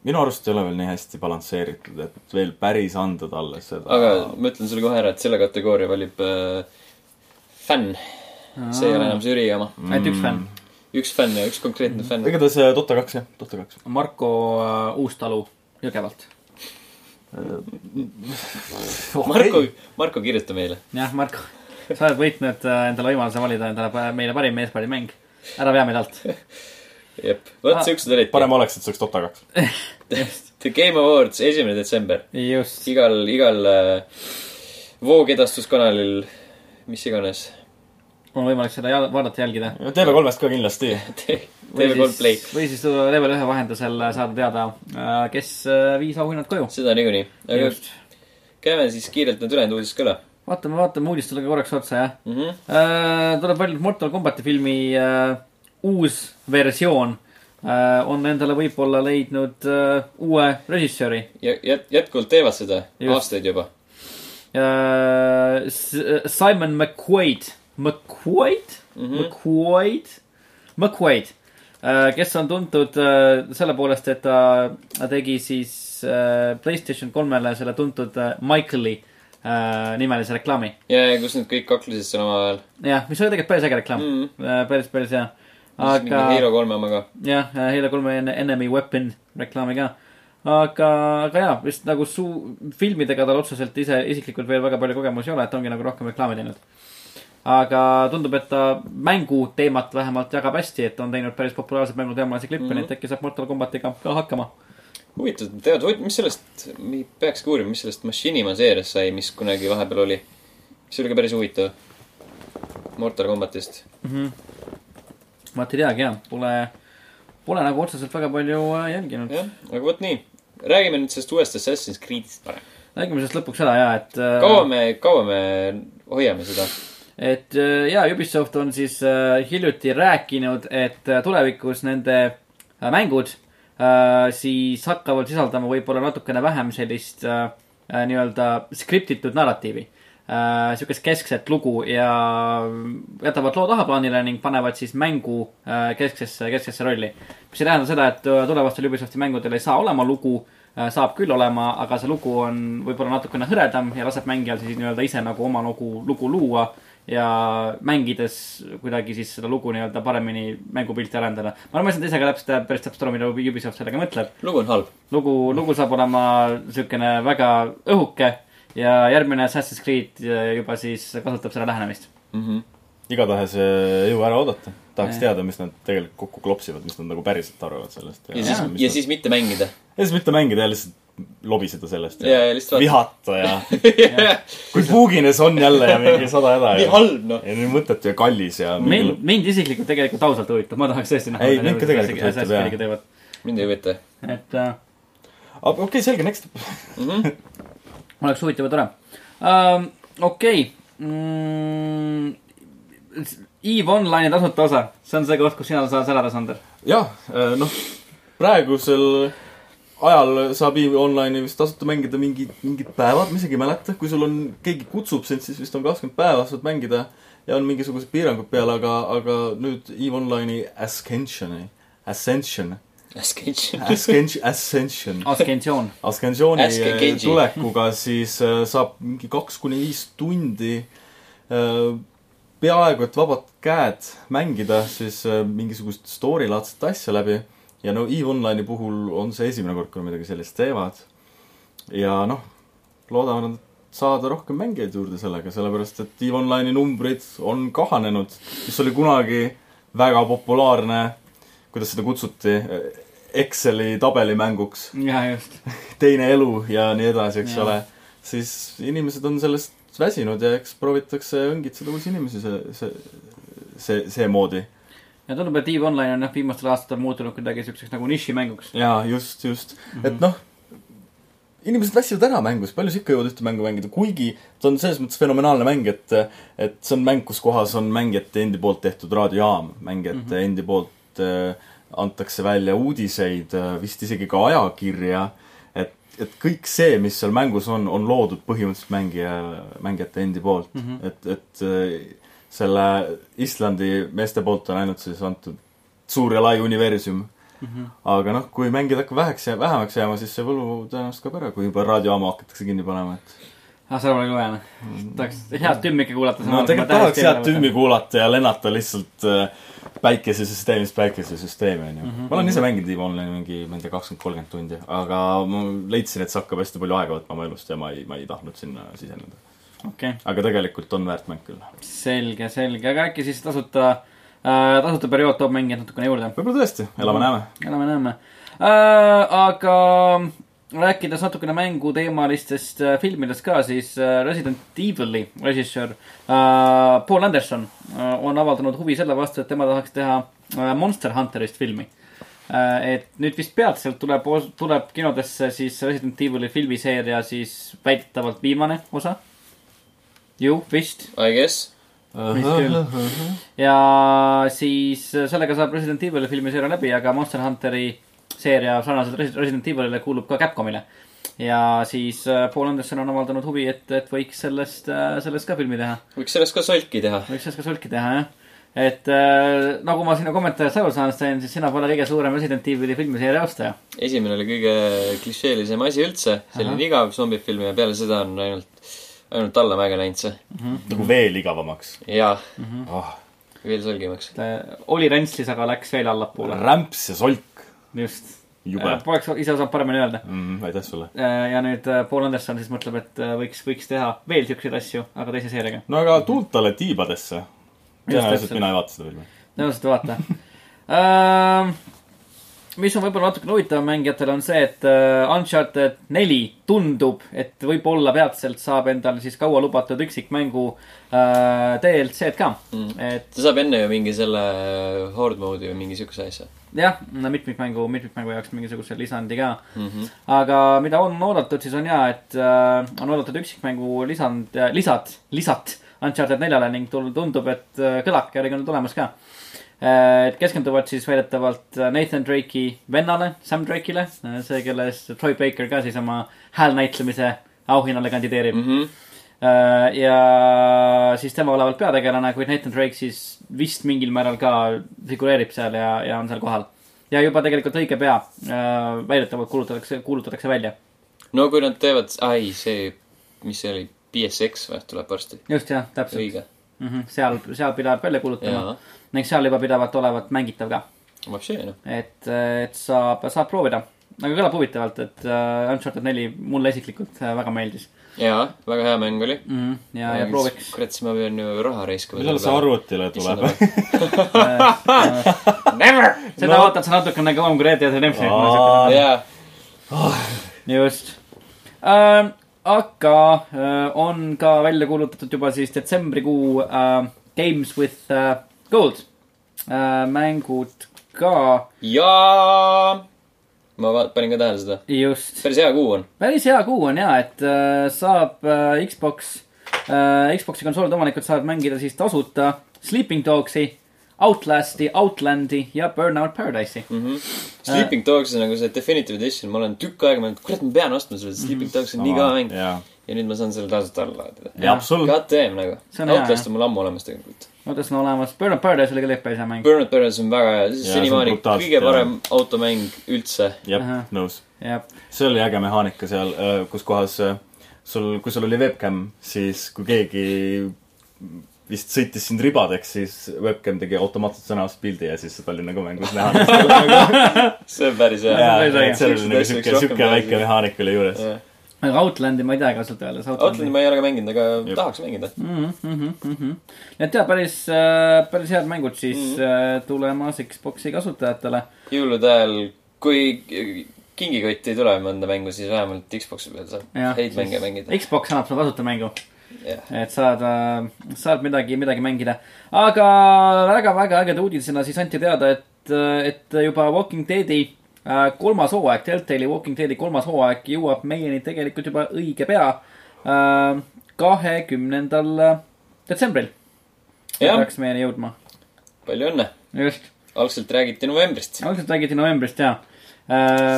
minu arust ei ole veel nii hästi balansseeritud , et veel päris anda talle seda .
aga ma ütlen sulle kohe ära , et selle kategooria valib äh, fänn . see ei ole enam žürii oma .
ainult
Mm.
üks
üks fänn .
fänn ja üks konkreetne fänn .
igatahes äh, Dota kaks jah , Dota kaks .
Marko äh, Uustalu Jõgevalt .
Marko , Marko , kirjuta meile .
jah , Marko , sa oled võitnud äh, endale võimaluse valida endale pä- meile parim meespallimäng . ära vea meid alt .
jep , vot
Ah,
siuksed olid .
parem oleks , et see oleks Dota kaks .
The Game Awards , esimene detsember .
just .
igal , igal äh, voogedastuskanalil , mis iganes .
on võimalik seda jal- vaadata , jälgida .
TV3-st ka kindlasti .
TV3 Play ,
või siis tulla level ühe vahendusel äh, saada teada , kes äh, viis auhinnad koju .
seda niikuinii . aga
just .
käime siis kiirelt need ülejäänud uudised ka üle
vaatame , vaatame uudistele ka korraks otsa , jah
mm . -hmm.
Äh, tuleb välja , et Mortal Combati filmi äh, uus versioon äh, on endale võib-olla leidnud äh, uue režissööri
ja jät- , jätkuvalt teevad seda
Just.
aastaid juba .
äh, . Simon McQuaid , McQuaid mm , -hmm. McQuaid , McQuaid äh, , kes on tuntud äh, selle poolest , et ta ta tegi siis äh, Playstation kolmele selle tuntud äh, Michaeli äh, nimelise reklaami .
ja , ja kus nad kõik kaklesid seal omavahel .
jah , mis oli tegelikult päris äge reklaam mm ,
Mhm.
-hmm. päris , päris hea .
mingi Halo kolme oma ka .
jah , Halo kolme en- Enemy Weapon reklaami ka . aga , aga jaa , vist nagu suu- , filmidega tal otseselt ise isiklikult veel väga palju kogemusi ei ole , et ongi nagu rohkem reklaami teinud . aga tundub , et ta mänguteemat vähemalt jagab hästi , et on teinud päris populaarseid mänguteemalisi klippe mm , -hmm. nii et äkki saab Mortal Combatiga ka hakkama .
huvitav , tead , mis sellest , peaks ka uurima , mis sellest Machinima seeriast sai , mis kunagi vahepeal oli . see oli ka päris huvitav . Mortal Combatist .
ma ei teagi jah , pole , pole nagu otseselt väga palju äh, jälginud .
jah , aga vot nii . räägime nüüd sellest uuest Assassin's Creed'ist parem .
räägime sellest lõpuks ära ja , et äh,
kaua me , kaua me hoiame seda ?
et äh, jaa , Ubisoft on siis äh, hiljuti rääkinud , et äh, tulevikus nende äh, mängud äh, siis hakkavad sisaldama võib-olla natukene vähem sellist äh, äh, nii-öelda skriptitud narratiivi äh, . Siukest keskset lugu ja jätavad loo tahaplaanile ning panevad siis mängu äh, kesksesse , kesksesse rolli . mis ei tähenda seda , et äh, tulevastel Ubisofti mängudel ei saa olema lugu äh, saab küll olema , aga see lugu on võib-olla natukene hõredam ja laseb mängijal siis nii-öelda ise nagu oma lugu , lugu luua ja mängides kuidagi siis seda lugu nii-öelda paremini mängupilti arendada . ma ei mõelnud ise ka täpselt , päris täpselt aru , mida Ubisoft sellega mõtleb .
lugu on halb .
lugu , lugu saab olema niisugune väga õhuke ja järgmine Assassin's Creed äh, juba siis kasutab seda lähenemist .
igatahes äh, ei jõua ära oodata . tahaks
Jah.
teada , mis nad tegelikult kokku klopsivad , mis nad nagu päriselt arvavad sellest .
ja siis , ja siis mitte mängida .
ja siis mitte mängida ja lihtsalt lobiseda sellest
Ja, ja lihtsalt vaata-
vihata ja
nii
kui puugines on jälle ja mingi sada häda ja
halb , noh .
ja nii mõttetu ja kallis ja mingi...
mind , mind isiklikult tegelikult ausalt huvitab , ma tahaks tõesti näha .
Ei, mind ka tegelikult huvitab, jah.
huvitab ,
mind ei huvita .
jah . et äh,
aga okei okay, , selge , next
oleks huvitav ja tore uh, . okei mm, . EVE Online'i tasuta osa , see on see koht , kus sina saad elada , Sander .
jah , noh , praegusel ajal saab EV Online'i vist tasuta mängida mingid , mingid päevad , ma isegi ei mäleta , kui sul on , keegi kutsub sind , siis vist on kakskümmend päeva saad mängida ja on mingisugused piirangud peal , aga , aga nüüd EV Online'i Ascension'i , Ascension ,
Ascension .
Ascension , Ascension
Ascensioon .
Ascensioni eh,
Aske Genji.
tulekuga siis äh, saab mingi kaks kuni viis tundi äh, peaaegu et vabad käed mängida siis äh, mingisugust story laadset asja läbi . ja no EVE Online'i puhul on see esimene kord , kui nad midagi sellist teevad . ja noh , loodame nad- saada rohkem mängijaid juurde sellega , sellepärast et EVE Online'i numbrid on kahanenud , mis oli kunagi väga populaarne , kuidas seda kutsuti , Exceli tabelimänguks ,
ja just .
teine elu ja nii edasi , eks
Jah.
ole . siis inimesed on sellest väsinud ja eks proovitakse õngitseda uusi inimesi see , see , see , seemoodi .
ja tundub , et EVE Online on jah , viimastel aastatel muutunud kuidagi siukseks nagu nišimänguks .
jaa , just , just mm . -hmm. et noh , inimesed väsivad ära mängus , palju sa ikka jõuad ühte mängu mängida , kuigi ta on selles mõttes fenomenaalne mäng , et et see on mäng , kus kohas on mängijate endi poolt tehtud raadiojaam , mängijate mm -hmm. endi poolt äh, antakse välja uudiseid , vist isegi ka ajakirja , et , et kõik see , mis seal mängus on , on loodud põhimõtteliselt mängija , mängijate endi poolt mm ,
Mhm.
-hmm. et , et äh, selle Islandi meeste poolt on ainult siis antud suur ja lai universum aga noh , kui mängijad hakkavad väheks , vähemaks jääma , siis see võlu tõenäoliselt kaob ära , kui juba raadiojaama hakatakse kinni panema , et
ah , see oleks kõvene . tahaks head tümmi ikka kuulata .
Mm. no tegelikult tahaks head tümmi . kuulata ja lennata lihtsalt äh, päikesesüsteemist päikesesüsteemi , onju . ma olen ise mänginud Eve Online'i mingi , ma ei tea , kakskümmend , kolmkümmend tundi , aga ma leidsin , et see hakkab hästi palju aega võtma oma elust ja ma ei , ma ei tahtnud sinna siseneda .
okei ,
aga tegelikult on väärt mäng küll .
selge , selge , aga äkki siis tasuta äh, , tasuta periood toob mängijad natukene juurde .
võib-olla tõesti , elame-näeme .
elame-näeme äh, . aga rääkides natukene mänguteemalistest äh, filmidest ka , siis äh, Resident Evil'i režissöör äh, Paul Anderson äh, on avaldanud huvi selle vastu , et tema tahaks teha äh, Monster Hunterist filmi äh, . et nüüd vist peatselt tuleb , tuleb kinodesse siis Resident Evil'i filmiseeria siis väidetavalt viimane osa . ju vist
I guess .
Mhm.
Mis küll. ja siis äh, sellega saab Resident Evil'i filmiseeria läbi , aga Monster Hunteri seeria sarnaselt Resi- Resident Evilile kuulub ka Capcomile . ja siis äh, Paul Anderson on avaldanud huvi , et , et võiks sellest , sellest ka filmi teha .
võiks sellest ka solki teha .
võiks sellest ka solki teha , jah . et äh, nagu ma sinu kommentaarist aru saan , Sten , siis sina pole kõige suurem Resident Evil'i filmiseeria ostaja .
esimene oli kõige klišeelisem asi üldse , selline igav zombifilm ja peale seda on ainult , ainult allamäge läinud see .
nagu veel igavamaks
jaa ,
oh, .
veel solgimaks .
Äh, oli rantslis , aga läks veel allapoole .
rämps ja solk .
just .
jube .
Poleks ise osanud paremini öelda .
aitäh sulle .
ja nüüd äh, Paul Anderson siis mõtleb , et äh, võiks , võiks teha veel siukseid asju , aga teise seeriaga .
no aga tuult talle tiibadesse . tõenäoliselt
täpselt.
mina ei vaata seda filmi .
tõenäoliselt vaata uh, . mis on võib-olla natukene huvitavam mängijatele , on see , et uh, Uncharted neli tundub , et võib-olla peatselt saab endale siis kaua lubatud üksikmängu uh, DLC-d ka mm. . et
ta saab enne ju mingi selle äh, horde mode'i või mingi siukse asja .
jah , no mitmikmängu , mitmikmängu jaoks mingisuguse lisandi ka mm . -hmm. aga mida on oodatud , siis on ja , et uh, on oodatud üksikmängu lisand uh, , lisad , lisat Uncharted neljale ning tul- tundub , et uh, kõlake järgi on tulemas ka Äh, et keskenduvad siis väidetavalt Nathan Drake'i vennale , Sam Drake'ile , see , kelle eest Troy Baker ka siis oma hääl näitlemise auhinnale kandideerib mm .
Mhm.
-hmm. ja siis tema olevat peategelane , kuid Nathan Drake siis vist mingil määral ka figureerib seal ja , ja on seal kohal . ja juba tegelikult õige pea äh, väidetavalt kuulutatakse , kuulutatakse välja .
no kui nad teevad , ai , see , mis see oli , BSX või , tuleb varsti .
just jah , täpselt .
õige .
Mm -hmm. seal , seal pidavat välja kuulutama
Jaa.
ning seal juba pidavat olevat mängitav ka
Vapšee , noh .
et , et saab , saab proovida . aga kõlab huvitavalt , et uh, Uncharted neli mulle isiklikult uh, väga meeldis
jaa , väga hea mäng oli .
mm . -hmm. ja , ja prooviks .
kurat , siis ma pean ju raha raiskama .
millal see ? arvutile tuleb ?
Never !
seda no. vaatad sa natukene kauem kui Red Dead Redemption .
Aa,
jaa ,
just uh, . aga uh, on ka välja kuulutatud juba siis detsembrikuu uh, Games with uh, Gold uh, mängud ka
jaa . ma va- panin ka tähele seda .
just .
päris hea kuu on .
päris hea kuu on ja , et äh, saab äh, Xbox äh, , Xbox'i konsoolide omanikud saavad mängida siis tasuta Sleeping Dogsi , Outlast'i , Outlandi ja Burnout Paradise'i mm .
Äh.
Sleeping Dogs on nagu see definitive edition , ma olen tükk aega mõelnud , kurat , ma pean ostma selle ,
Mhm.
Sleeping Dogs on nii kõva mäng .
jaa ,
ja nüüd ma saan selle tasuta alla laadida .
jaa , absoluutselt .
God damn nagu .
See on hea,
Outlast
jah.
on mul ammu olemas tegelikult .
Outlast on olemas , Burnout Paradise oli küll ikka hea mäng
Burnout Paradise on väga hea ,
see on
senimaani
brutaalselt
kõige
hea.
parem automäng üldse .
jah
Ahah. ,
nõus .
jah ,
see oli äge mehaanika seal , kus kohas äh, sul , kui sul oli webcam , siis kui keegi vist sõitis sind ribadeks , siis webcam tegi automaatselt sõnast pildi ja siis seda oli nagu mängus näha .
see on päris hea .
jaa ,
päris äge.
et seal oli
Siukseid
nagu
asju võiks
siuke ,
rohkem
siuke
teha.
väike mehaanika oli juures .
aga Outlandi ma ei tea ka ausalt öeldes .
Outlandi ma ei ole ka mänginud , aga
Jep.
tahaks mängida .
Mhm, mhm, mhm. nii et jaa , päris , päris head mängud siis
Mhm.
mm -hmm. tulemas Xbox'i kasutajatele .
jõulude ajal , kui kingikotti ei tule mõnda mängu , siis vähemalt Xbox'i peal saab häid mänge mängida .
Xbox annab sulle tasuta mängu ,
jah ,
et saad , saad midagi , midagi mängida . aga väga-väga ägeda uudisena siis anti teada , et , et juba Walking Deadi äh, kolmas hooaeg , Telltale'i Walking Deadi kolmas hooaeg jõuab meieni tegelikult juba õige pea , kahekümnendal äh, detsembril .
jah ,
peaks meieni jõudma ,
palju õnne .
just .
algselt räägiti novembrist .
algselt räägiti novembrist ja ,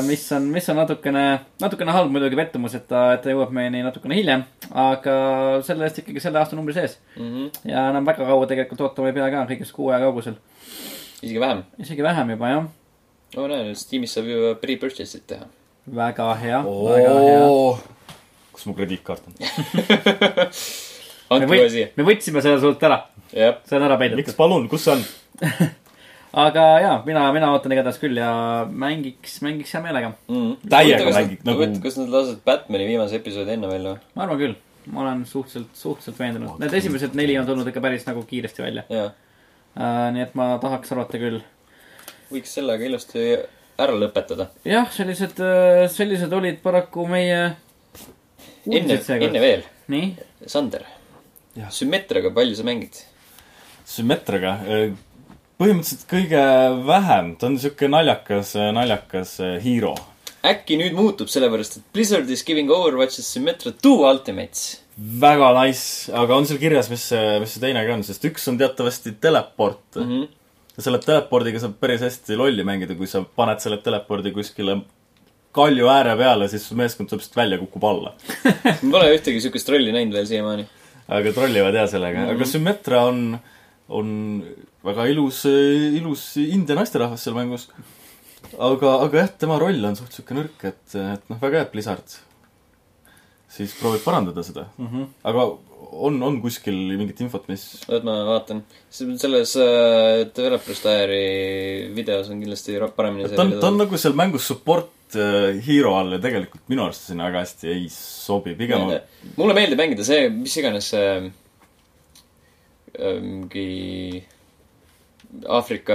mis on , mis on natukene , natukene halb muidugi pettumus , et ta , et ta jõuab meieni natukene hiljem , aga selle eest ikkagi selle aastanumbri sees
Mhm,
ja enam väga kaua tegelikult ootama ei pea ka , kõigest kuu aja kaugusel ,
isegi vähem .
isegi vähem juba jah ,
no näen , Steamis saab ju pre-purchase'it teha .
väga hea , väga hea .
kus mu krediitkaart on ?
me
andke kohe
võt-
siia .,
me võtsime selle sult ära ,
jah ,
see on ära
miks
peidetud ,
palun , kus see on ?
aga ja mina , mina ootan igatahes küll ja mängiks , mängiks hea meelega ,
Täiega mängid, nagu-
nagu . Mhm. kas nad lasevad Batman'i viimase episoodi enne välja või ?
ma arvan küll , ma olen suhteliselt , suhteliselt veendunud , need esimesed neli on tulnud ikka päris nagu kiiresti välja ,
jaa ,
nii et ma tahaks arvata küll
võiks sellega ilusti ära lõpetada .
jah , sellised , sellised olid paraku meie
enne ,
uudised
enne
seekord .
veel ,
nii ,
Sander
Jah. .
Sümmetriaga palju sa mängid ?
Sümmetriga ? põhimõtteliselt kõige vähem , ta on sihuke naljakas , naljakas eh, hero .
äkki nüüd muutub , sellepärast et Blizzard is giving Overwatch'is Symmetra two ultimates .
väga nice , aga on seal kirjas , mis see , mis see teine ka on , sest üks on teatavasti teleport mm .
Mhm.
-hmm. selle telepordiga saab päris hästi lolli mängida , kui sa paned selle telepordi kuskile kalju ääre peale , siis su meeskond tuleb lihtsalt välja , kukub alla .
ma pole ühtegi siukest rolli näinud veel siiamaani .
aga trollivad jah sellega mm , -hmm. aga Symmetra on , on väga ilus , ilus India naisterahvas seal mängus . aga , aga jah , tema roll on suht sihuke nõrk , et , et noh , väga hea , et Blizzard siis proovib parandada seda mm . -hmm. aga on , on kuskil mingit infot , mis
oot , ma vaatan . selles äh, Developer Diary videos on kindlasti ra- paremini
ta on , ta on nagu seal mängus support äh, hero all ja tegelikult minu arust sinna väga hästi ei sobi , pigem on
mulle meeldib mängida see , mis iganes see äh, mingi Aafrika .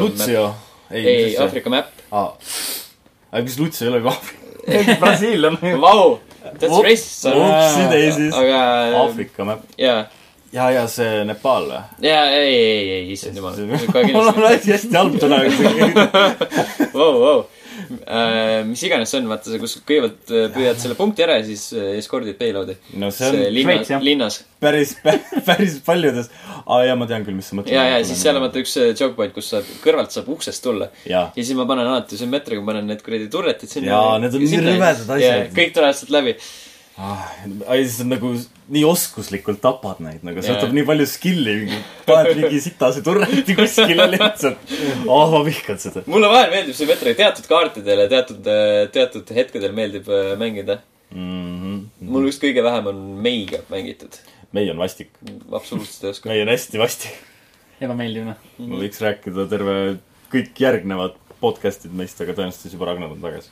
Lutsio .
ei , Aafrika map .
aga kas Lutsio ei ole ka Aafrika ? brasiillane .
Vau , that's
Ups-
racist .
upsi daisies.
aga ,
Aafrika map .
jaa ,
ja , ja see Nepal või ?
jaa , ei , ei , ei , issand jumal .
mul on asi hästi halb täna .
vau , vau . Äh, mis iganes see on , vaata see , kus kõigepealt äh, püüad selle punkti ära ja siis äh, eskordid payload'i .
no see
see
on
linnas
Šveits, jah. ,
linnas .
päris , päris paljudes . aa jaa , ma tean küll , mis sa mõtled .
ja , ja siis seal on vaata üks äh, joke point , kus saab , kõrvalt saab uksest tulla .
jaa ,
ja siis ma panen alati sümmeetriga , panen need kuradi turretid sinna .
Jaa, need on nii rõvedad asjad.
kõik tulevad sealt läbi .
Ah, ai siis on nagu nii oskuslikult tapad neid , nagu see
Jaa.
võtab nii palju skill'i , paned mingi sitase turreti kuskile lihtsalt . aa , ma vihkan seda .
mulle vahel meeldib sümmeetriga teatud kaartidele , teatud , teatud hetkedel meeldib äh, mängida .
Mhm.
mul vist kõige vähem on meiga mängitud .
meie on vastik ,
absoluutselt ei oska .
meie on hästi vastik .
ebameeldiv noh .
ma
Mhm.
võiks rääkida terve , kõik järgnevad podcast'id meist , aga tõenäoliselt siis juba Ragnar on tagasi .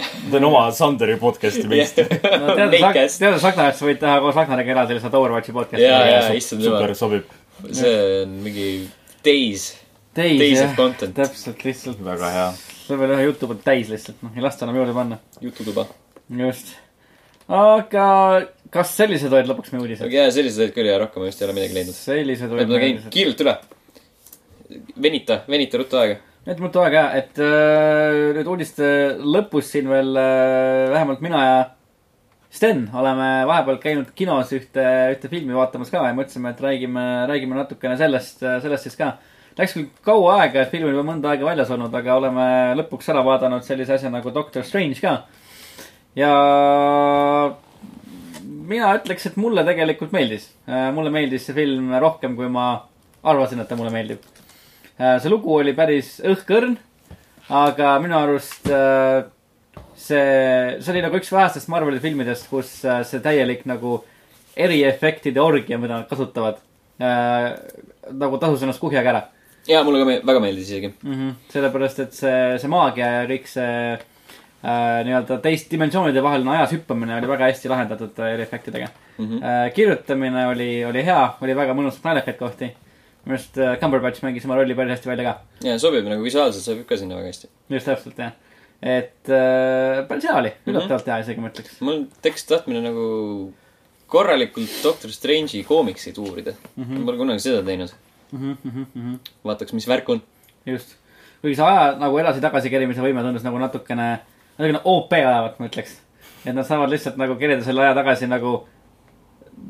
ma teen oma Sanderi podcast'i meist .
teades
Meikest.
Ragnarist , sa võid teha koos Ragnariga ära sellise Overwatchi
jaa ,
podcast'i .
jaa , issand jumal
super . sobib ,
see on mingi days , days of
teise ,
content ,
täpselt , lihtsalt
väga hea
lööme ühe jutu pealt täis lihtsalt , noh ei lasta enam juurde panna .
jututuba .
just . aga kas sellised olid lõpuks meie uudised ?
aga jaa , sellised olid küll ja rohkem ma just ei ole midagi leidnud .
sellised
ma
olid meie
käin
uudised .
kiirelt üle . venita , venita ruttu aega .
et mul too aeg jah , et äh, nüüd uudiste lõpus siin veel äh, vähemalt mina ja Sten oleme vahepeal käinud kinos ühte , ühte filmi vaatamas ka ja mõtlesime , et räägime , räägime natukene sellest , sellest siis ka . Läks küll kaua aega , et film on juba mõnda aega väljas olnud , aga oleme lõpuks ära vaadanud sellise asja nagu Doctor Strange ka . ja mina ütleks , et mulle tegelikult meeldis . mulle meeldis see film rohkem , kui ma arvasin , et ta mulle meeldib . see lugu oli päris õhkõrn , aga minu arust äh, see , see oli nagu üks vähestest Marveli filmidest , kus äh, see täielik nagu eriefektide orgia , mida nad kasutavad , nagu tasus ennast kuhjaga ära
jaa , mulle ka me- väga meeldis isegi .
mm . -hmm. sellepärast , et see , see maagia ja kõik see äh, nii-öelda teist dimensioonide vaheline ajas hüppamine oli väga hästi lahendatud äh, eriefektidega mm . -hmm. Äh, kirjutamine oli , oli hea , oli väga mõnusalt naljakaid kohti . minu arust äh, Cumberbatch mängis oma rolli päris hästi välja ka .
ja sobib nagu visuaalselt sobib ka sinna väga hästi .
just täpselt jah . et äh, päris hea oli , üllatavalt hea isegi ma ütleks .
mul tekkis tahtmine nagu korralikult Doctor Strange'i koomikseid uurida mm .
Mhm.
-hmm. ma pole kunagi seda teinud . vaataks , mis värk on .
just , kuigi see aja nagu edasi-tagasi kerimise võime tundus nagu natukene , natukene OP olevat , ma ütleks . et nad saavad lihtsalt nagu kerida selle aja tagasi nagu ,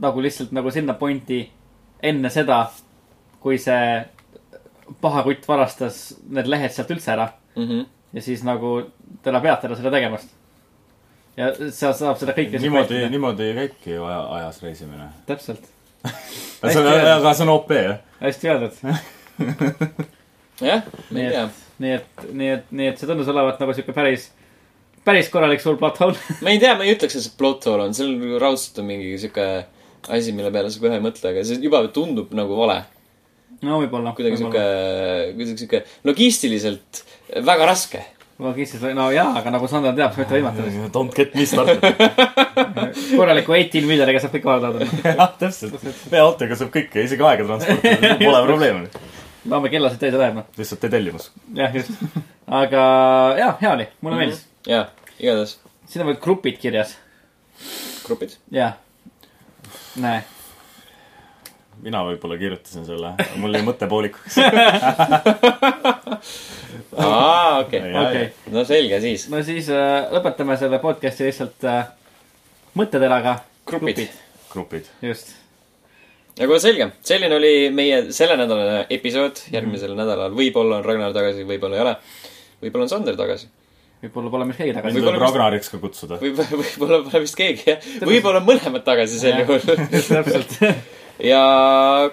nagu lihtsalt nagu sinna pointi enne seda , kui see paha kutt varastas need lehed sealt üldse ära
Mm -hmm.
ja siis nagu teda peatada seda tegemast . ja seal saab seda kõike .
niimoodi , niimoodi käibki ju aja , ajas reisimine .
täpselt ,
aga see on ,
Hästi öeldud.
aga see on OP jah ?
hästi öeldud .
jah , ma
nii
ei tea .
et , nii et , nii et , nii et see tundus olevat nagu sihuke päris , päris korralik suur platoon .
ma ei tea , ma ei ütleks , et see plot hole on , seal nagu raudselt on mingi sihuke asi , mille peale sa kohe ei mõtle , aga see juba tundub nagu vale .
no võib-olla .
kuidagi sihuke , kuidagi sihuke logistiliselt väga raske .
ma kissis , no jaa , aga nagu Sander teab , sa võid võimata .
Don't get me started .
korraliku eighteen miljoniga saab kõik korda anda .
jah , täpselt . veoautoga saab kõike , isegi aega transportida , pole probleemi .
no me kellasid täis läheb , noh .
lihtsalt teed tellimus .
jah , just . aga jaa , hea oli , mulle meeldis .
jaa , igatahes
siin on veel grupid kirjas .
grupid .
jah . näe .
mina võib-olla kirjutasin selle , mul jäi mõte poolikuks .
aa , okei .
Jaa,
okei .
no selge siis .
no siis äh, lõpetame selle podcast'i lihtsalt äh, mõtteteraga .
grupid .
grupid .
just .
aga selge , selline oli meie selle nädala episood , järgmisel nädalal võib-olla on Ragnar tagasi , võib-olla ei ole . võib-olla on Sander tagasi .
võib-olla pole meist keegi
mind
tagasi .
Võib-olla
tuleb
vist-
Ragnariks ka kutsuda .
võib-olla , võib-olla pole vist keegi jah , võib-olla on mõlemad tagasi sel
Jah.
juhul .
just täpselt .
ja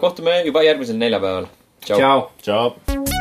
kohtume juba järgmisel neljapäeval . tšau .
tšau .
tšau .